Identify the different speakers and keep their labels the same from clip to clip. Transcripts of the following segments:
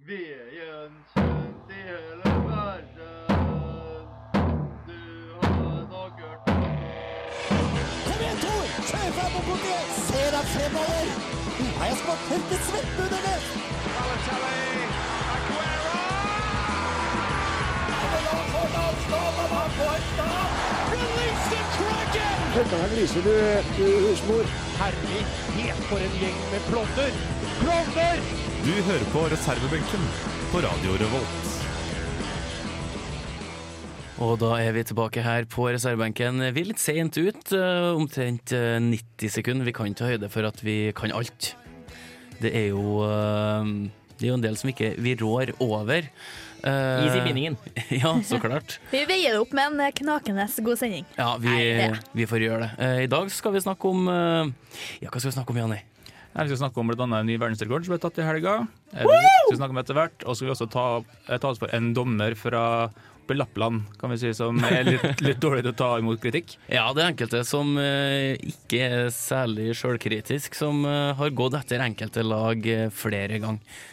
Speaker 1: Wir gjenkjenner i hele verden. Du har nok hørt om
Speaker 2: Kom igjen, Tor! Kjør fram mot politiet! Se deg fremover! Nei, jeg skal tørke svettbuddene! Kødderen lyser du i husmor.
Speaker 3: Herlighet, for en gjeng med klovner! Klovner!
Speaker 4: Du hører på reservebenken på Radio Revolt.
Speaker 5: Og da er vi tilbake her på reservebenken. Vi er litt seint ut, eh, omtrent eh, 90 sekunder. Vi kan ta høyde for at vi kan alt. Det er jo eh, Det er jo en del som ikke vi rår over. Eh,
Speaker 3: Is i bindingen.
Speaker 5: Ja, så klart.
Speaker 6: Vi veier det opp med en eh, knakende god sending.
Speaker 5: Ja, vi,
Speaker 6: Nei, det-
Speaker 5: vi får gjøre det. Eh, I dag skal vi snakke om eh, Ja, hva skal vi snakke om, Janni?
Speaker 7: Her skal vi snakke om blant annet en ny verdensrekord som ble tatt i helga. Eh, Det skal vi snakke om etter hvert. Og så skal vi også ta, eh, ta oss for en dommer fra oppe i Lappland, kan vi si, som er litt, litt dårlig til å ta imot kritikk.
Speaker 5: Ja, det er enkelte som eh, ikke er særlig sjølkritisk, som eh, har gått etter enkelte lag eh, flere ganger.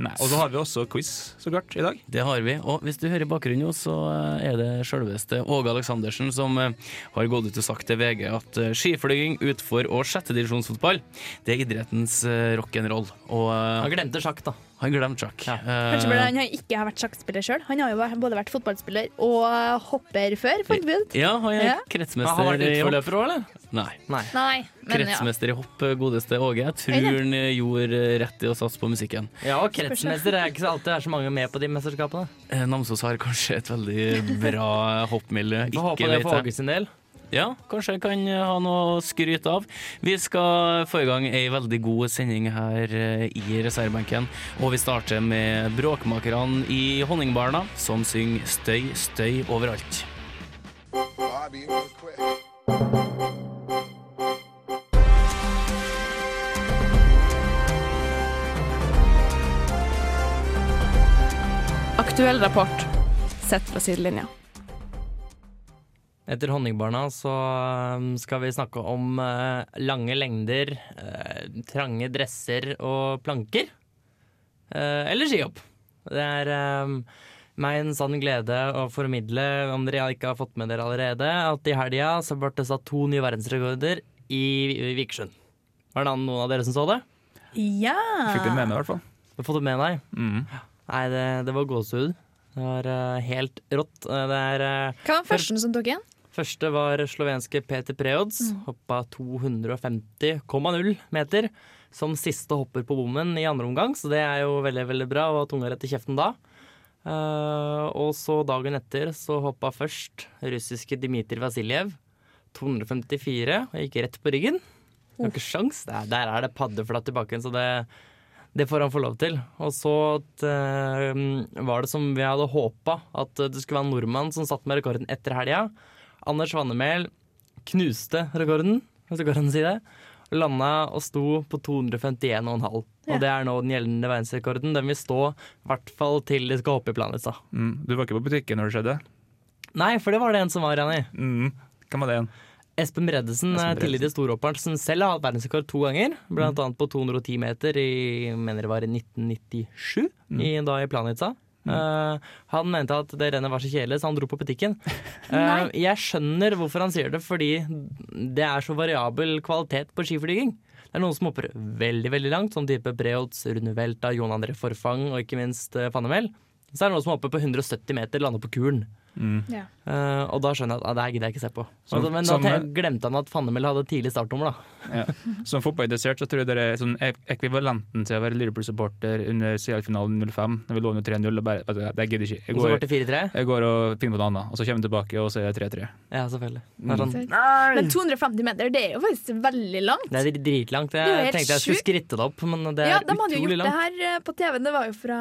Speaker 7: Nei. Og så har vi også quiz, så klart, i dag.
Speaker 5: Det har vi. Og hvis du hører bakgrunnen nå, så eh, er det selveste Åge Aleksandersen som eh, har gått ut og sagt til VG at eh, skiflyging, utfor og sjettedivisjonsfotball, det er idrettens eh, rock'n'roll. Og
Speaker 3: Han
Speaker 5: eh,
Speaker 3: glemte sjakk, da.
Speaker 5: han glemte sjakk.
Speaker 3: Ja.
Speaker 5: Eh,
Speaker 6: Kanskje fordi han har ikke har vært sjakkspiller sjøl. Han har jo vært- både vært fotballspiller og hopper før, fant vi ut.
Speaker 5: ja, han er
Speaker 6: Ja.
Speaker 3: Men han
Speaker 5: kretsmester
Speaker 3: har vært
Speaker 5: i hopp.
Speaker 3: utforløper òg, eller?
Speaker 5: Nei.
Speaker 3: Nei.
Speaker 6: Nei, men ja.
Speaker 5: Kretsmester i hopp, eh, godeste Åge. Jeg tror
Speaker 6: Eller?
Speaker 5: han eh, gjorde rett i å satse på musikken.
Speaker 3: Ja, og kretsmester er ikke så alltid er så mange med på de mesterskapene.
Speaker 5: Eh, Namsos har kanskje et veldig bra hoppmiljø.
Speaker 3: Vi får håpe det
Speaker 5: vet
Speaker 3: for
Speaker 5: jeg.
Speaker 3: Åge sin del.
Speaker 5: Ja, kanskje jeg kan eh, ha noe å skryte av. Vi skal få i gang ei veldig god sending her eh, i reservebenken. Og vi starter med Bråkmakerne i Honningbarna, som synger 'Støy, støy overalt'.
Speaker 8: Aktuell rapport sett fra sidelinja.
Speaker 3: Etter Honningbarna så um, skal vi snakke om eh, lange lengder, eh, trange dresser og planker. Eh, eller skihopp. Det er um, meg en sann glede å formidle, om dere ikke har fått med dere allerede, at i helga så ble det satt to nye verdensrekorder i Vikersund. Var det noen av dere som så det?
Speaker 7: Fikk det
Speaker 6: ja.
Speaker 7: med meg, i hvert fall.
Speaker 3: Du har fått det med deg?
Speaker 7: Mm.
Speaker 3: Nei, det, det var gåsehud. Det var eh, helt rått. Eh, Det er eh,
Speaker 6: Hva var den første som tok igjen?
Speaker 3: Første var slovenske Peter Preodz. Hoppa 250,0 meter som siste hopper på bommen i andre omgang, så det er jo veldig veldig bra å ha tunga rett i kjeften da. Eh, og så dagen etter så hoppa først russiske Dmitrij Vasiljev 254 og gikk rett på ryggen. Det var ikke sjans. Der, der er det paddeflatt i bakken, så det, det får han få lov til. Og så eh, var det som vi hadde håpa, at det skulle være en nordmann som satt med rekorden etter helga. Anders Vannemel knuste rekorden, hvis det går an å si det. Landa og sto på 251,5.
Speaker 6: Ja.
Speaker 3: Og det er nå den gjeldende verdensrekorden. Den vil stå i hvert fall til de skal hoppe i Planica.
Speaker 7: Mm. Du var ikke på butikken når det skjedde?
Speaker 3: Nei, for det var det en som var, Janni.
Speaker 7: Mm. Hvem var det igjen?
Speaker 3: Espen Bredesen,
Speaker 7: Espen
Speaker 3: eh,
Speaker 7: Bredesen. Mm.
Speaker 3: tidligere storhopperen, som selv har hatt verdensrekord to ganger. Blant annet på 210 meter i mener det var i 1997,
Speaker 7: Mm.
Speaker 3: i, da i Planica. Eh, han mente at det rennet var så kjedelig, så han dro på butikken. Eh,
Speaker 6: Nei.
Speaker 3: jeg skjønner hvorfor han sier det, fordi det er så variabel kvalitet på skiflyging. Det er noen som hopper veldig veldig langt, som type Breholtz, Runevelta, Jon André Forfang og ikke minst eh, Fannemel. Så er det noen som hopper på 170 meter, lander på kulen.
Speaker 6: Ja.
Speaker 3: Eh, og da skjønner jeg at ah, det her gidder jeg ikke se på.
Speaker 7: Som-
Speaker 3: Altså, men
Speaker 7: som-
Speaker 3: da te- glemte han at Fannemel hadde tidlig startnummer, da.
Speaker 7: Ja. Som fotballinteressert så tror jeg det er sånn ek- ekvivalenten til å være Liverpool-supporter under CL-finalen 05, når vi lå under 3-0 og bare vet du, Det gidder jeg ikke.
Speaker 3: Og så ble
Speaker 7: Jeg går,
Speaker 3: det 4-3.
Speaker 7: jeg går og finner på noe annet, og så kommer jeg tilbake, og så er det 3-3.
Speaker 3: Ja, selvfølgelig. Det er, sånn,
Speaker 6: Men 250 meter, det er jo faktisk veldig langt.
Speaker 3: det er dritlangt.
Speaker 6: Det er jo
Speaker 3: Jeg
Speaker 6: helt
Speaker 3: tenkte jeg skulle
Speaker 6: sjukt.
Speaker 3: skritte det opp, men det er
Speaker 6: ja, de hadde jo
Speaker 3: utrolig
Speaker 6: gjort det
Speaker 3: langt.
Speaker 6: her eh, på TV. Det var jo fra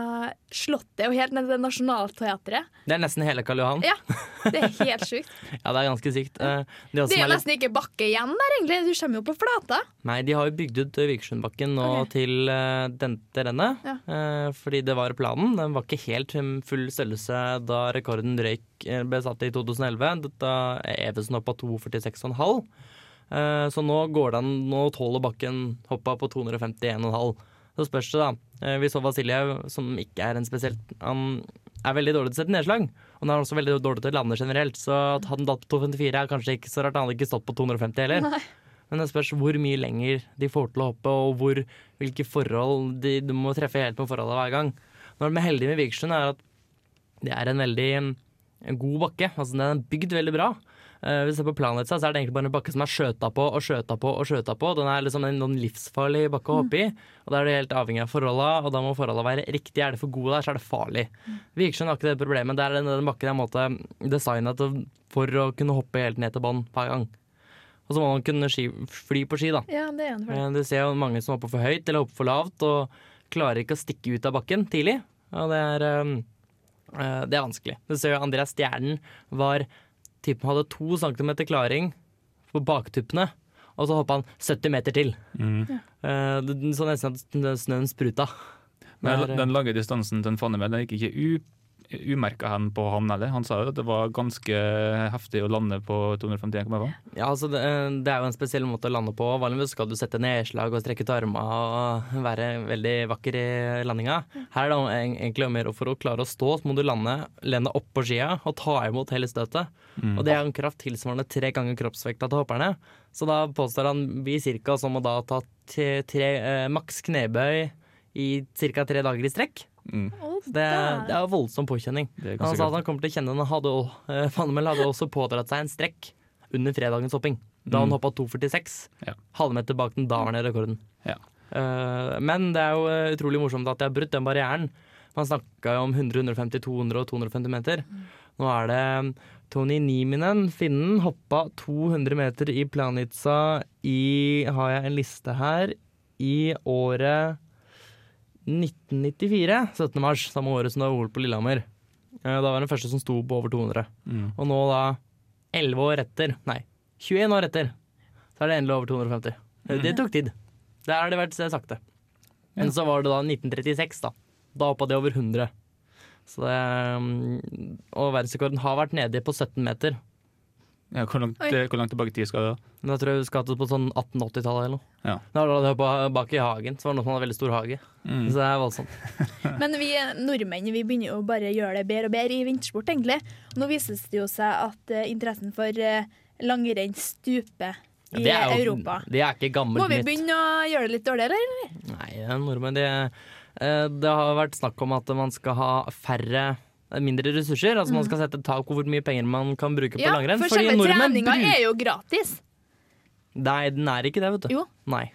Speaker 6: Slottet og helt ned til Nationaltheatret.
Speaker 3: Det, er nesten hele Karl Johan.
Speaker 6: Ja, det er helt sjukt.
Speaker 3: Ja, det er ganske sykt. Eh, det er også
Speaker 6: Det er
Speaker 3: som
Speaker 6: jo
Speaker 3: er litt,
Speaker 6: nesten ikke bakke igjen der, egentlig. Du kommer jo på flata.
Speaker 3: nei, de har jo bygd ut Vikersundbakken nå
Speaker 6: Ok.
Speaker 3: til uh, dette rennet.
Speaker 6: Ja.
Speaker 3: eh, fordi det var planen. Den var ikke helt um, full størrelse da rekorden røyk eh, ble satt i 2011. Da er Evensen hoppa 2,46,5. Eh, Så nå går det an Nå tåler bakken hoppa på 251,5. Så spørs det, da. Eh, Vi så Vasiljev, som ikke er en spesielt Han er veldig dårlig til å sette nedslag. Og han er også veldig dårlig til å lande generelt, så at han datt på 254 er kanskje ikke så rart. Han hadde ikke stått på 250 heller. Men det spørs hvor mye lenger de får til å hoppe, og hvor, hvilke forhold de, de må treffe helt med forholdene hver gang. Når de er heldige med Vikersund, er at det er en veldig en god bakke. Altså, den er bygd veldig bra. Eh, hvis du ser på planen deres, så er det egentlig bare en bakke som er skjøta på og skjøta på og skjøta på. Den er liksom en, noen livsfarlig bakke å hoppe i, og da er du helt avhengig av forholda, og da må forholda være riktige. Er det for gode der, så er det farlig. Vikersund har ikke det problemet. Der er den, den bakken er en måte designa til- for å kunne hoppe helt ned til bånn hver gang. Og så må man kunne ski, fly på ski, da.
Speaker 6: Ja, det er en fordel.
Speaker 3: Eh, Du ser jo mange som hopper for høyt eller hopper for lavt og klarer ikke å stikke ut av bakken tidlig. Og det er, eh, eh, det er vanskelig. Du ser jo Andreas Stjernen var typen hadde to centimeter klaring på baktuppene, og så hoppa han 70 meter til.
Speaker 7: Mm.
Speaker 3: Eh, det- Så nesten at snø- snøen spruta.
Speaker 7: Men
Speaker 3: Det er, eh,
Speaker 7: den lange distansen til Fannemel gikk ikke u umerka hen på han heller. Han sa jo at det var ganske heftig å lande på 251,1.
Speaker 3: Ja, altså det, det er jo en spesiell måte å lande på. Vanligvis skal du sette nedslag og strekke ut armene og være veldig vakker i landinga. Her er det om- eng- egentlig mer for å klare å stå, så må du lande, lene opp på skia og ta imot hele støtet. Og det er en kraft tilsvarende tre ganger kroppsvekta til hopperne. Så da påstår han vi cirka som å da ta tre, tre, eh, maks knebøy i ca. tre dager i strekk.
Speaker 6: Å,
Speaker 3: Det, er- det
Speaker 6: da.
Speaker 3: er jo voldsom påkjenning.
Speaker 7: Det er ganske
Speaker 3: Han sa at
Speaker 7: kraftig.
Speaker 3: han kommer til å kjenne den. Hadde, også- eh, Fannemel hadde også pådratt seg en strekk under fredagens hopping. Da han hoppa 2,46.
Speaker 7: Mm. Ja.
Speaker 3: Halvmeter bak den daværende rekorden.
Speaker 7: Ja.
Speaker 3: Eh, men det er jo eh, utrolig morsomt at de har brutt den barrieren. Man snakka jo om 100, 150, 200 og 250 meter. Nå er det eh, Tony Nieminen, finnen, hoppa 200 meter i Planica i Har jeg en liste her? I året 1994, 17. mars, samme året som det var OL på Lillehammer. Eh, Da var den første som sto på over 200. Og nå da, 11 år etter, nei, 21 år etter, så er det endelig over 250. Eh, Det tok tid. Det har det vært eh, sakte. Men så var det da 1936, da. Da hoppa det over 100. Så det, mm, og verdensrekorden har vært nede på 17 meter.
Speaker 7: Ja, hvor, langt,
Speaker 6: Oi.
Speaker 7: eh, hvor langt tilbake i tid skal det? da?
Speaker 3: Men jeg tror jeg skal til på sånn 1880-tallet eller noe.
Speaker 7: Ja.
Speaker 3: Da var det hoppa bak i hagen, så var det noen som hadde veldig stor hage. Så det er voldsomt.
Speaker 6: Men vi nordmenn vi begynner jo bare å gjøre det bedre og bedre i vintersport, egentlig. Nå vises det jo seg at eh, interessen for eh, langrenn stuper i
Speaker 3: Det er jo-
Speaker 6: Europa.
Speaker 3: Det er ikke gammelt
Speaker 6: Må vi
Speaker 3: nytt.
Speaker 6: begynne å gjøre det litt dårligere, eller?
Speaker 3: Nei, nordmenn de, eh, Det har vært snakk om at man skal ha færre mindre ressurser. Altså Man skal sette et tak på hvor mye penger man kan bruke på langrenn.
Speaker 6: Mm. for
Speaker 3: fordi
Speaker 6: selve
Speaker 3: nordmenn
Speaker 6: treninga
Speaker 3: bruker-
Speaker 6: er jo gratis.
Speaker 3: Nei, den er ikke det, vet du.
Speaker 6: Jo.
Speaker 3: Nei.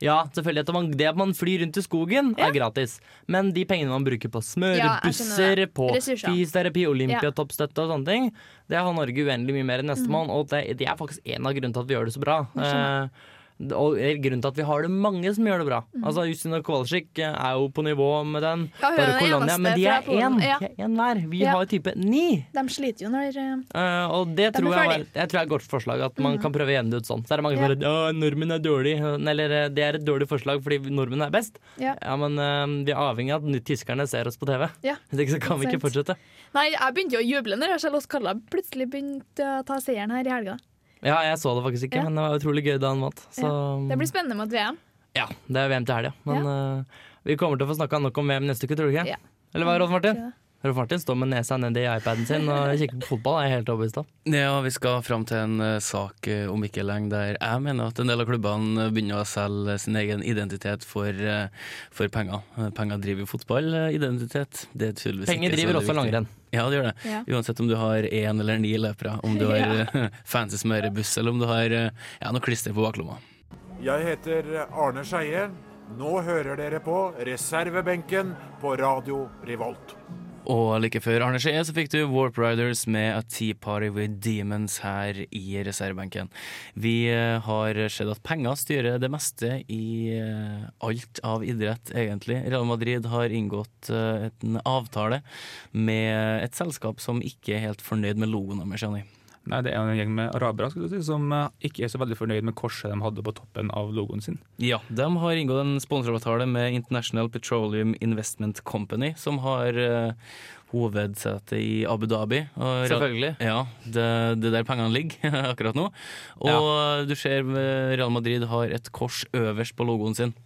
Speaker 3: Ja, selvfølgelig at man, det at man flyr rundt i skogen
Speaker 6: Ja.
Speaker 3: er gratis. Men de pengene man bruker på
Speaker 6: Ja, jeg skjønner
Speaker 3: smørebusser,
Speaker 6: det. sånn.
Speaker 3: på
Speaker 6: Ressurser.
Speaker 3: fysioterapi, olympiatoppstøtte og sånne ting, det har Norge uendelig mye mer enn
Speaker 6: Mm.
Speaker 3: nestemann. Og det, det er faktisk en av grunnene til at vi gjør det så bra. Eh, og grunnen til at vi har det mange som gjør det bra. Altså Justina Kowalczyk eh, er jo på nivå med den.
Speaker 6: Ja, Mm. hun er
Speaker 3: Bare
Speaker 6: den
Speaker 3: Colonia,
Speaker 6: eneste
Speaker 3: men de er
Speaker 6: fra Polen.
Speaker 3: én.
Speaker 6: Ja.
Speaker 3: De er én hver. Vi
Speaker 6: Ja.
Speaker 3: har type ni.
Speaker 6: De sliter jo når eh,
Speaker 3: Eh, og det
Speaker 6: De er
Speaker 3: tror jeg, var,
Speaker 6: ferdig. Mm.
Speaker 3: jeg tror er et godt forslag, at man kan prøve å gjemme det ut sånn. Så er det mange som
Speaker 6: Ja.
Speaker 3: sier at nordmenn er dårlig, eller eh, det er et dårlig forslag fordi nordmenn er best.
Speaker 6: Ja.
Speaker 3: Ja, men eh, vi er avhengig av at ny- tyskerne ser oss på TV.
Speaker 6: Ja,
Speaker 3: Hvis ikke så kan vi
Speaker 6: ikke
Speaker 3: ikke fortsette.
Speaker 6: Nei, jeg begynte jo å juble når jeg Charlotte Kalla plutselig begynte å ta seieren her i helga.
Speaker 3: Ja, jeg så det faktisk ikke,
Speaker 6: Ja.
Speaker 3: men det var utrolig gøy da han vant. Så
Speaker 6: Det blir spennende mot VM.
Speaker 3: ja, det er VM til helga. Men eh, vi kommer til å få snakka nok om VM neste uke, tror du ikke?
Speaker 6: Ja.
Speaker 3: Eller hva, Rolf Martin?
Speaker 6: Tror jeg.
Speaker 3: Rolf Martin står med nesa nedi iPaden sin og kikker på fotball, er jeg helt overbevist om.
Speaker 5: Ja, vi skal fram til en eh, sak eh, om ikke lenge der jeg mener at en del av klubbene eh, begynner å selge sin egen identitet for, eh, for penger. Eh, Penger driver jo fotball, eh, identitet det er tydeligvis
Speaker 3: Penger
Speaker 5: ikke så
Speaker 3: driver
Speaker 5: veldig
Speaker 3: også
Speaker 5: viktig.
Speaker 3: langrenn.
Speaker 5: Ja, det gjør det.
Speaker 6: Ja.
Speaker 5: Uansett om du har én eller ni løpere, om du har eh, fancy smørebuss eller om du har eh, ja, noe klister på baklomma.
Speaker 9: Jeg heter Arne Skeie. Nå hører dere på reservebenken på Radio Revolt.
Speaker 5: Og like før Arne Skje så fikk du Warp Riders med A Tea Party With Demons her i reservebenken. Vi eh, har sett at penger styrer det meste i eh, alt av idrett, egentlig. Real Madrid har inngått eh, en avtale med et selskap som ikke er helt fornøyd med logoen deres, Johnny.
Speaker 7: Nei, det er en gjeng med arabere skal du si, som eh, ikke er så veldig fornøyd med korset de hadde på toppen av logoen sin.
Speaker 5: Ja, de har inngått en sponsoravtale med International Petroleum Investment Company, som har eh, hovedsete i Abu Dhabi. Og Ra-
Speaker 3: Selvfølgelig.
Speaker 5: Ja, det, det der pengene ligger akkurat nå. Og du ser eh, Real Madrid har et kors øverst på logoen sin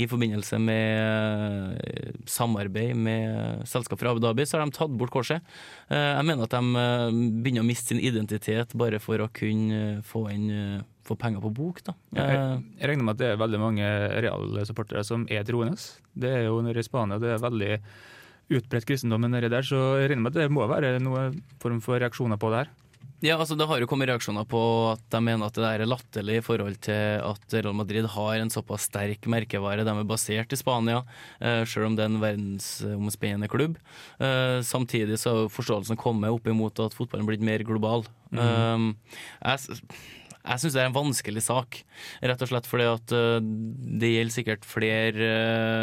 Speaker 5: i forbindelse med eh, samarbeid med selskap fra Abu Dhabi, så har de tatt bort korset. Eh, Jeg mener at de eh, begynner å miste sin identitet bare for å kunne eh, få inn eh, få penger på bok, da. Eh,
Speaker 7: Jeg, jeg regner med at det er veldig mange Real-supportere som er troende. Det er jo nede i Spania, det er veldig utbredt kristendom nedi der, så jeg regner med at det må være noen form for reaksjoner på det her.
Speaker 5: Ja, altså Det har jo kommet reaksjoner på at de mener at det der er latterlig i forhold til at Real Madrid har en såpass sterk merkevare. De er basert i Spania, eh, selv om det er en verdensomspennende klubb. Eh, samtidig så har jo forståelsen kommet opp imot at fotballen er blitt mer global. Eh, jeg s- jeg syns det er en vanskelig sak, rett og slett fordi at eh, det gjelder sikkert flere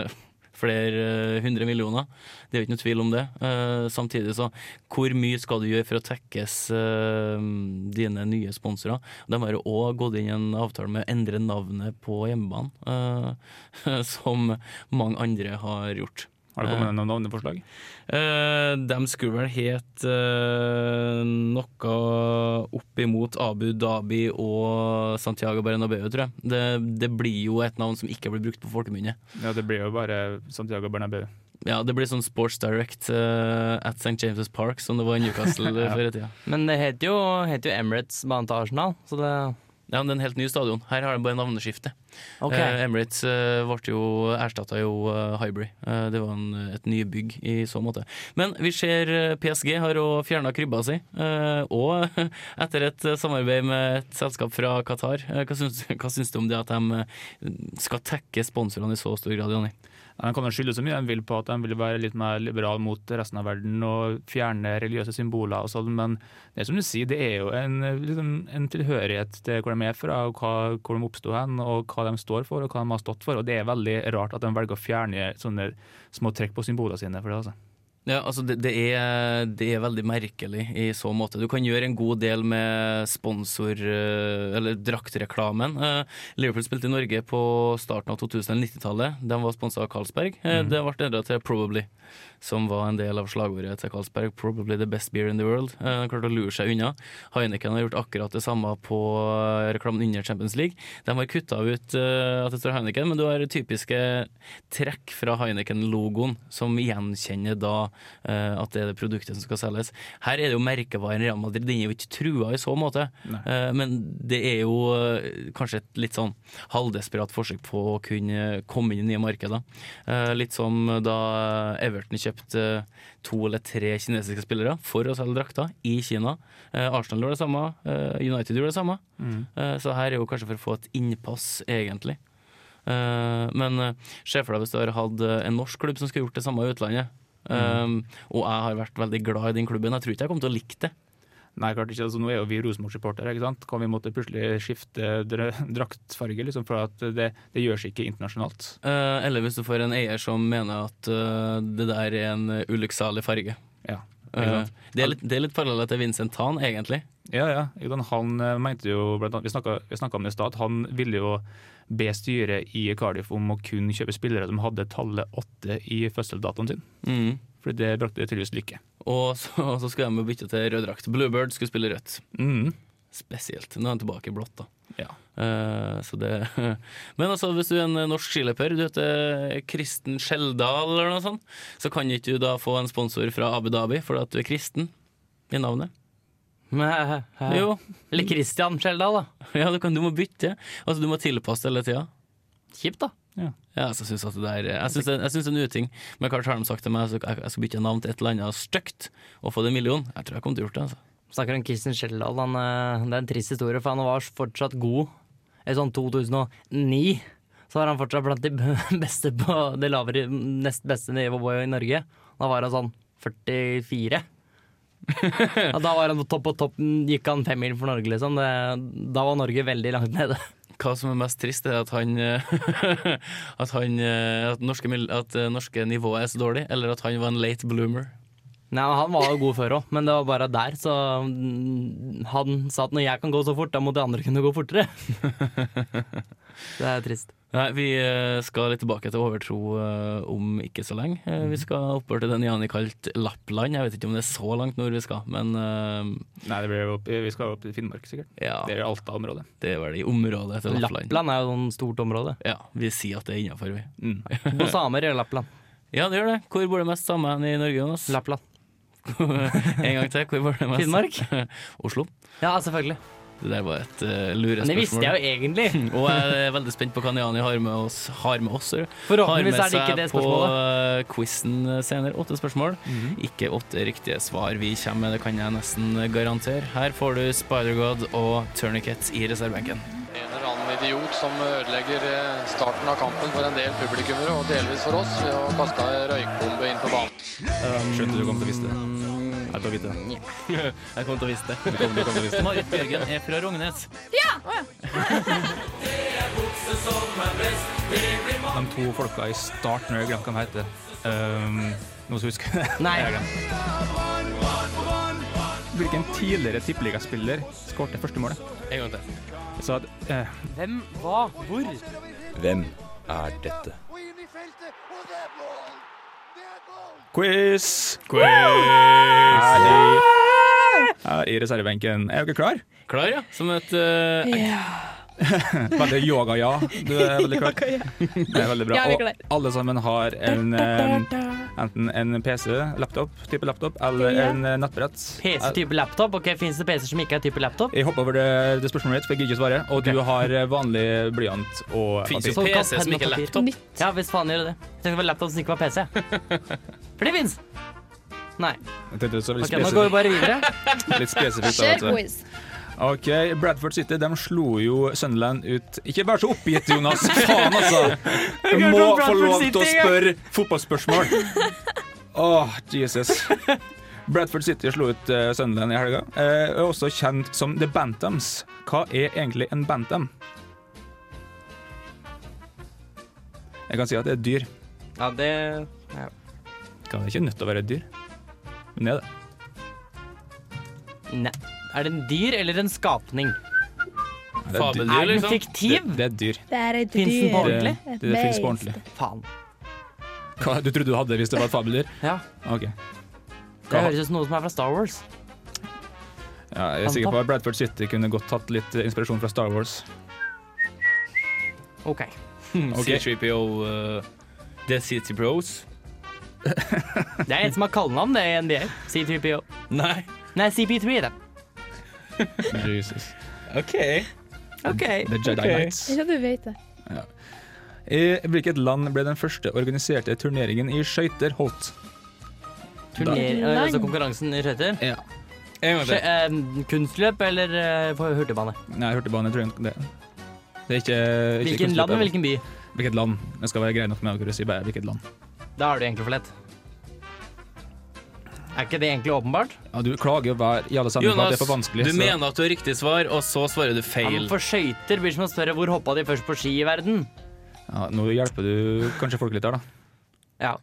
Speaker 5: eh, flere eh, hundre millioner. Det er jo ikke noe tvil om det. Eh, samtidig så, hvor mye skal du gjøre for å tekkes eh, dine nye sponsorer? De har jo òg gått inn i en avtale med å endre navnet på hjemmebane, eh, som mange andre har gjort.
Speaker 7: Har det kommet noen navneforslag?
Speaker 5: Eh, de skulle vel het eh, noe opp imot Abu Dhabi og Santiago Bernabeu, tror jeg. Det, det blir jo et navn som ikke blir brukt på folkemunne.
Speaker 7: Ja, det blir jo bare Santiago Bernabeu.
Speaker 5: Ja, det blir sånn Sports Direct eh, at St. James' Park, som det var i Newcastle før i tida.
Speaker 3: Men det heter jo, heter jo Emirates banen til Arsenal, så det
Speaker 5: Ja, men det er en helt ny stadion. Her har de bare navneskifte.
Speaker 3: OK.
Speaker 5: Eh, Emirates eh, ble jo erstatta jo eh, Highbury. Eh, det var en, et nybygg i så måte. Men vi ser eh, PSG har òg fjerna krybba si. eh, og etter et eh, samarbeid med et selskap fra Qatar, eh, hva, syns, hva syns du om det at de eh, skal tekke sponsorene i så stor grad, Jonny?
Speaker 7: De kan jo skylde så mye de vil på at de vil være litt mer liberale mot resten av verden og fjerne religiøse symboler og sånn, men det er som du sier, det er jo en, liksom, en tilhørighet til hvor de er fra, og hva, hvor de oppsto hen, og hva de står for, og hva de har stått for. Og det er veldig rart at de velger å fjerne sånne små trekk på symbolene sine for det, altså.
Speaker 5: Ja, altså det, det, er, det er veldig merkelig i så måte. Du kan gjøre en god del med sponsor- eh, eller draktreklamen. Eh, Liverpool spilte i Norge på starten av 2090-tallet. De var sponsa av Carlsberg. Eh,
Speaker 3: Mhm.
Speaker 5: Det ble endra til 'Probably', som var en del av slagordet til Carlsberg. 'Probably the best beer in the world'. Eh, De klarte å lure seg unna. Heineken har gjort akkurat det samme på eh, reklamen under Champions League. De har kutta ut eh, at det står Heineken, men du har typiske trekk fra Heineken-logoen, som gjenkjenner da eh, at det er det produktet som skal selges. Her er det jo merkevaren Real Madrid, den er jo ikke trua i så måte. Eh, men det er jo eh, kanskje et litt sånn halvdesperat forsøk på å kunne komme inn i nye markeder. Eh, litt som da Everton kjøpte eh, to eller tre kinesiske spillere for å selge drakter i Kina. Eh, Arsenal gjorde det samme, eh, United gjorde det samme.
Speaker 7: Mm.
Speaker 5: Eh, Så her er jo kanskje for å få et innpass, egentlig. Eh, Men eh, se for deg hvis du har hatt eh, en norsk klubb som skulle gjort det samme i utlandet.
Speaker 7: Mm.
Speaker 5: Eh, og jeg har vært veldig glad i den klubben. Jeg tror ikke jeg kommer til å like det.
Speaker 7: Nei, klart ikke. Altså, nå er jo vi Rosenborg-supportere, ikke sant. Kan vi måtte plutselig skifte dra- draktfarge, liksom, for at det, det gjør seg ikke internasjonalt.
Speaker 5: Eh, eller hvis du får en eier som mener at eh, det der er en eh, ulykksalig farge.
Speaker 7: Ja,
Speaker 5: Eh,
Speaker 7: ikke sant.
Speaker 5: det er litt, det er litt parallell til Vincent Tan, egentlig.
Speaker 7: Ja, ja. Jordan, han eh, mente jo blant annet, Vi snakket- vi snakka om det i stad. Han ville jo be styret i Cardiff om å kun kjøpe spillere som hadde tallet åtte i fødselsdatoen sin.
Speaker 5: Mm.
Speaker 7: For det brakte tydeligvis lykke.
Speaker 5: Og så, og så skulle de jo bytte til rød drakt. Bluebird skulle spille rødt.
Speaker 7: Mm.
Speaker 5: Spesielt. Nå er han tilbake i blått, da.
Speaker 7: Ja.
Speaker 5: Eh, så det Men altså, hvis du er en norsk skiløper, du heter Kristen Skjeldal eller noe sånt, så kan ikke du da få en sponsor fra Abu Dhabi fordi at du er kristen i navnet.
Speaker 3: Men-
Speaker 5: Jo,
Speaker 3: Eller Christian Skjeldal, da.
Speaker 5: ja, du, kan, du må bytte. Altså, du må tilpasse deg hele tida.
Speaker 3: Kjipt, da.
Speaker 5: Ja, så synes jeg at det der Jeg synes det, jeg synes det er en uting. Men hva har de sagt til meg? Så jeg jeg skal bytte navn til et eller annet stygt og få det en million. Jeg tror jeg kommer til å gjort det. altså
Speaker 3: Snakker om Christian Skjeldal. Han, eh, det er en trist historie, for han var fortsatt god. I sånn 2009 så var han fortsatt blant de b- beste på det lavere, nest beste nivået i Norge. Da var han sånn 44. Ja, da var han på topp og toppen, gikk han femmil for Norge, liksom. Det, da var Norge veldig langt nede.
Speaker 5: Hva som er mest trist, er at han eh, At, han, eh, at, norske, mil- at eh, norske nivået er så dårlig, eller at han var en late bloomer.
Speaker 3: Nei, men Han var jo god før òg, men det var bare der. Så mm, han sa at når jeg kan gå så fort, da må de andre kunne gå fortere. det er trist.
Speaker 5: Nei, vi eh, skal litt tilbake til overtro eh, om ikke så lenge. Eh, Vi skal oppover til den Jani kalt Lappland. Jeg vet ikke om det er så langt nord vi skal, men eh,
Speaker 7: Nei, det blir jo opp, vi skal opp til Finnmark, sikkert.
Speaker 5: ja,
Speaker 7: Det er Alta-området.
Speaker 5: det er vel i området til Lappland.
Speaker 3: Lappland er jo et stort område.
Speaker 5: Ja, vi sier at det er innafor, vi.
Speaker 3: På samer i Lappland.
Speaker 5: Ja, det gjør det. Hvor bor det mest samer i Norge, Jonas?
Speaker 3: Lappland.
Speaker 5: en gang til, hvor bor det mest?
Speaker 3: Finnmark?
Speaker 5: Oslo.
Speaker 3: Ja, selvfølgelig.
Speaker 5: Det der var et uh, lurespørsmål.
Speaker 3: Men det visste jeg jo egentlig.
Speaker 5: Og jeg er veldig spent på hva Niani har med oss. Har med oss eller? har med
Speaker 3: Forhåpentligvis er det ikke
Speaker 5: seg
Speaker 3: det
Speaker 5: på
Speaker 3: spørsmålet.
Speaker 5: eh, quizen senere. Åtte spørsmål. Ikke åtte riktige svar vi kommer med, det kan jeg nesten garantere. Her får du Spider-God og Tourniquet i reservebenken.
Speaker 10: En eller annen idiot som ødelegger eh, starten av kampen for en del publikummere, og delvis for oss, ved å kaste ei røykbombe inn på banen.
Speaker 4: Skjønte du kom til å vise det. Jeg tar vite det.
Speaker 5: Jeg kommer til å vise det. Marit Bjørgen er fra Rognes.
Speaker 7: De to folka i starten, jeg glemte hva de heter. Ehm, noen som husker det?
Speaker 3: Nei.
Speaker 7: Jeg har glemt. Hvilken tidligere tippeligaspiller skåret første målet?
Speaker 5: En gang til.
Speaker 7: Så at, eh,
Speaker 3: Hvem, hva, hvor?
Speaker 11: Hvem er dette?
Speaker 7: Quiz! Quiz! Her i, her i reservebenken. Er dere klar?
Speaker 5: Klar, ja. Som et eh,
Speaker 7: Veldig yoga, ja. Du er veldig klar. Det er veldig bra.
Speaker 6: Ja, vi er klar.
Speaker 7: Og alle sammen har en, eh, enten en PC, laptop, type laptop, eller
Speaker 6: Ja.
Speaker 7: en eh, nettbrett.
Speaker 3: PC-type laptop? Ok, Fins det PC-er som ikke er type laptop?
Speaker 7: Jeg hopper over det, det spørsmålet ditt, for jeg gidder ikke svare. Og du har eh, vanlig blyant og
Speaker 5: Fins det
Speaker 7: papir.
Speaker 3: Sånn
Speaker 5: PC som
Speaker 3: penn og
Speaker 5: ikke er
Speaker 3: papir.
Speaker 5: laptop?
Speaker 3: Ja, hvis faen gjør det det. Jeg tenkte det var laptop som ikke var PC. For det fins! Nei.
Speaker 7: Jeg tenkte det var litt
Speaker 3: Ok, Nå går vi
Speaker 7: spesifikt.
Speaker 3: bare videre.
Speaker 7: Litt spesifikt da,
Speaker 6: Kjør
Speaker 7: vet du.
Speaker 6: quiz.
Speaker 7: Ok, Bradford City de slo jo Sunderland ut Ikke vær så oppgitt, Jonas! Faen, altså! Du
Speaker 3: Jeg
Speaker 7: må
Speaker 3: går for
Speaker 7: få
Speaker 3: Bradford
Speaker 7: lov til å
Speaker 3: City, jeg.
Speaker 7: spørre fotballspørsmål! Åh, Jesus. Bradford City slo ut eh, Sunderland i helga. Eh, er også kjent som The Bantams. Hva er egentlig en bantam? Jeg kan si at det er et dyr.
Speaker 3: Ja, det
Speaker 7: Kan det ikke nødt til å være et dyr? Men det er det.
Speaker 3: Nei. Er det en dyr eller en skapning?
Speaker 7: Det er et dyr.
Speaker 5: Fabeldyr,
Speaker 3: Er den
Speaker 5: liksom?
Speaker 7: Det,
Speaker 3: fiktiv?
Speaker 7: det er et dyr.
Speaker 6: Det er et
Speaker 3: Finnes den på
Speaker 6: dyr.
Speaker 3: ordentlig?
Speaker 7: Det, det, det finnes på
Speaker 6: Beist.
Speaker 7: ordentlig.
Speaker 3: Faen.
Speaker 7: Hva, du trodde du hadde det hvis det var et fabeldyr?
Speaker 3: Ja,
Speaker 7: Ok.
Speaker 3: Det høres ut som noe som er fra Star Wars.
Speaker 7: Ja, jeg er sikker på at Bradford City kunne godt tatt litt eh, inspirasjon fra Star Wars.
Speaker 3: Ok.
Speaker 7: Ok.
Speaker 5: C3PO eh, Det er City Bros.
Speaker 3: Det er en som har kallenavn, det i NBA. C3PO.
Speaker 5: Nei.
Speaker 3: Nei, CP3, det.
Speaker 7: Jesus.
Speaker 5: OK.
Speaker 3: Ok.
Speaker 7: The Jedi Knights.
Speaker 6: Ja, du vet det.
Speaker 7: I hvilket land ble den første organiserte turneringen i skøyter holdt?
Speaker 3: Turner,
Speaker 6: Da-
Speaker 3: altså konkurransen i skøyter.
Speaker 5: En gang til.
Speaker 3: Skø- eh, Kunstløp eller eh, på hurtigbane?
Speaker 7: Nei, jeg hørte bare jeg tror jeg- det. Det er ikke, ikke
Speaker 3: Hvilken
Speaker 7: kunstløp,
Speaker 3: land og
Speaker 7: eller-
Speaker 3: hvilken by?
Speaker 7: Hvilket land. Det skal være greit nok med å kunne si bare hvilket land.
Speaker 3: Da er du egentlig for lett. Er ikke det egentlig åpenbart?
Speaker 7: Ja, du klager jo hver i alle sammen på at
Speaker 5: Jonas,
Speaker 7: det er for vanskelig.
Speaker 5: du
Speaker 7: så-
Speaker 5: mener at du har riktig svar, og så svarer du
Speaker 3: Ja, men
Speaker 5: feil.
Speaker 3: for skøyter blir det som å spørre hvor hoppa de først på ski i verden?
Speaker 7: Ja, nå hjelper du kanskje folk litt her, da.
Speaker 3: Ja,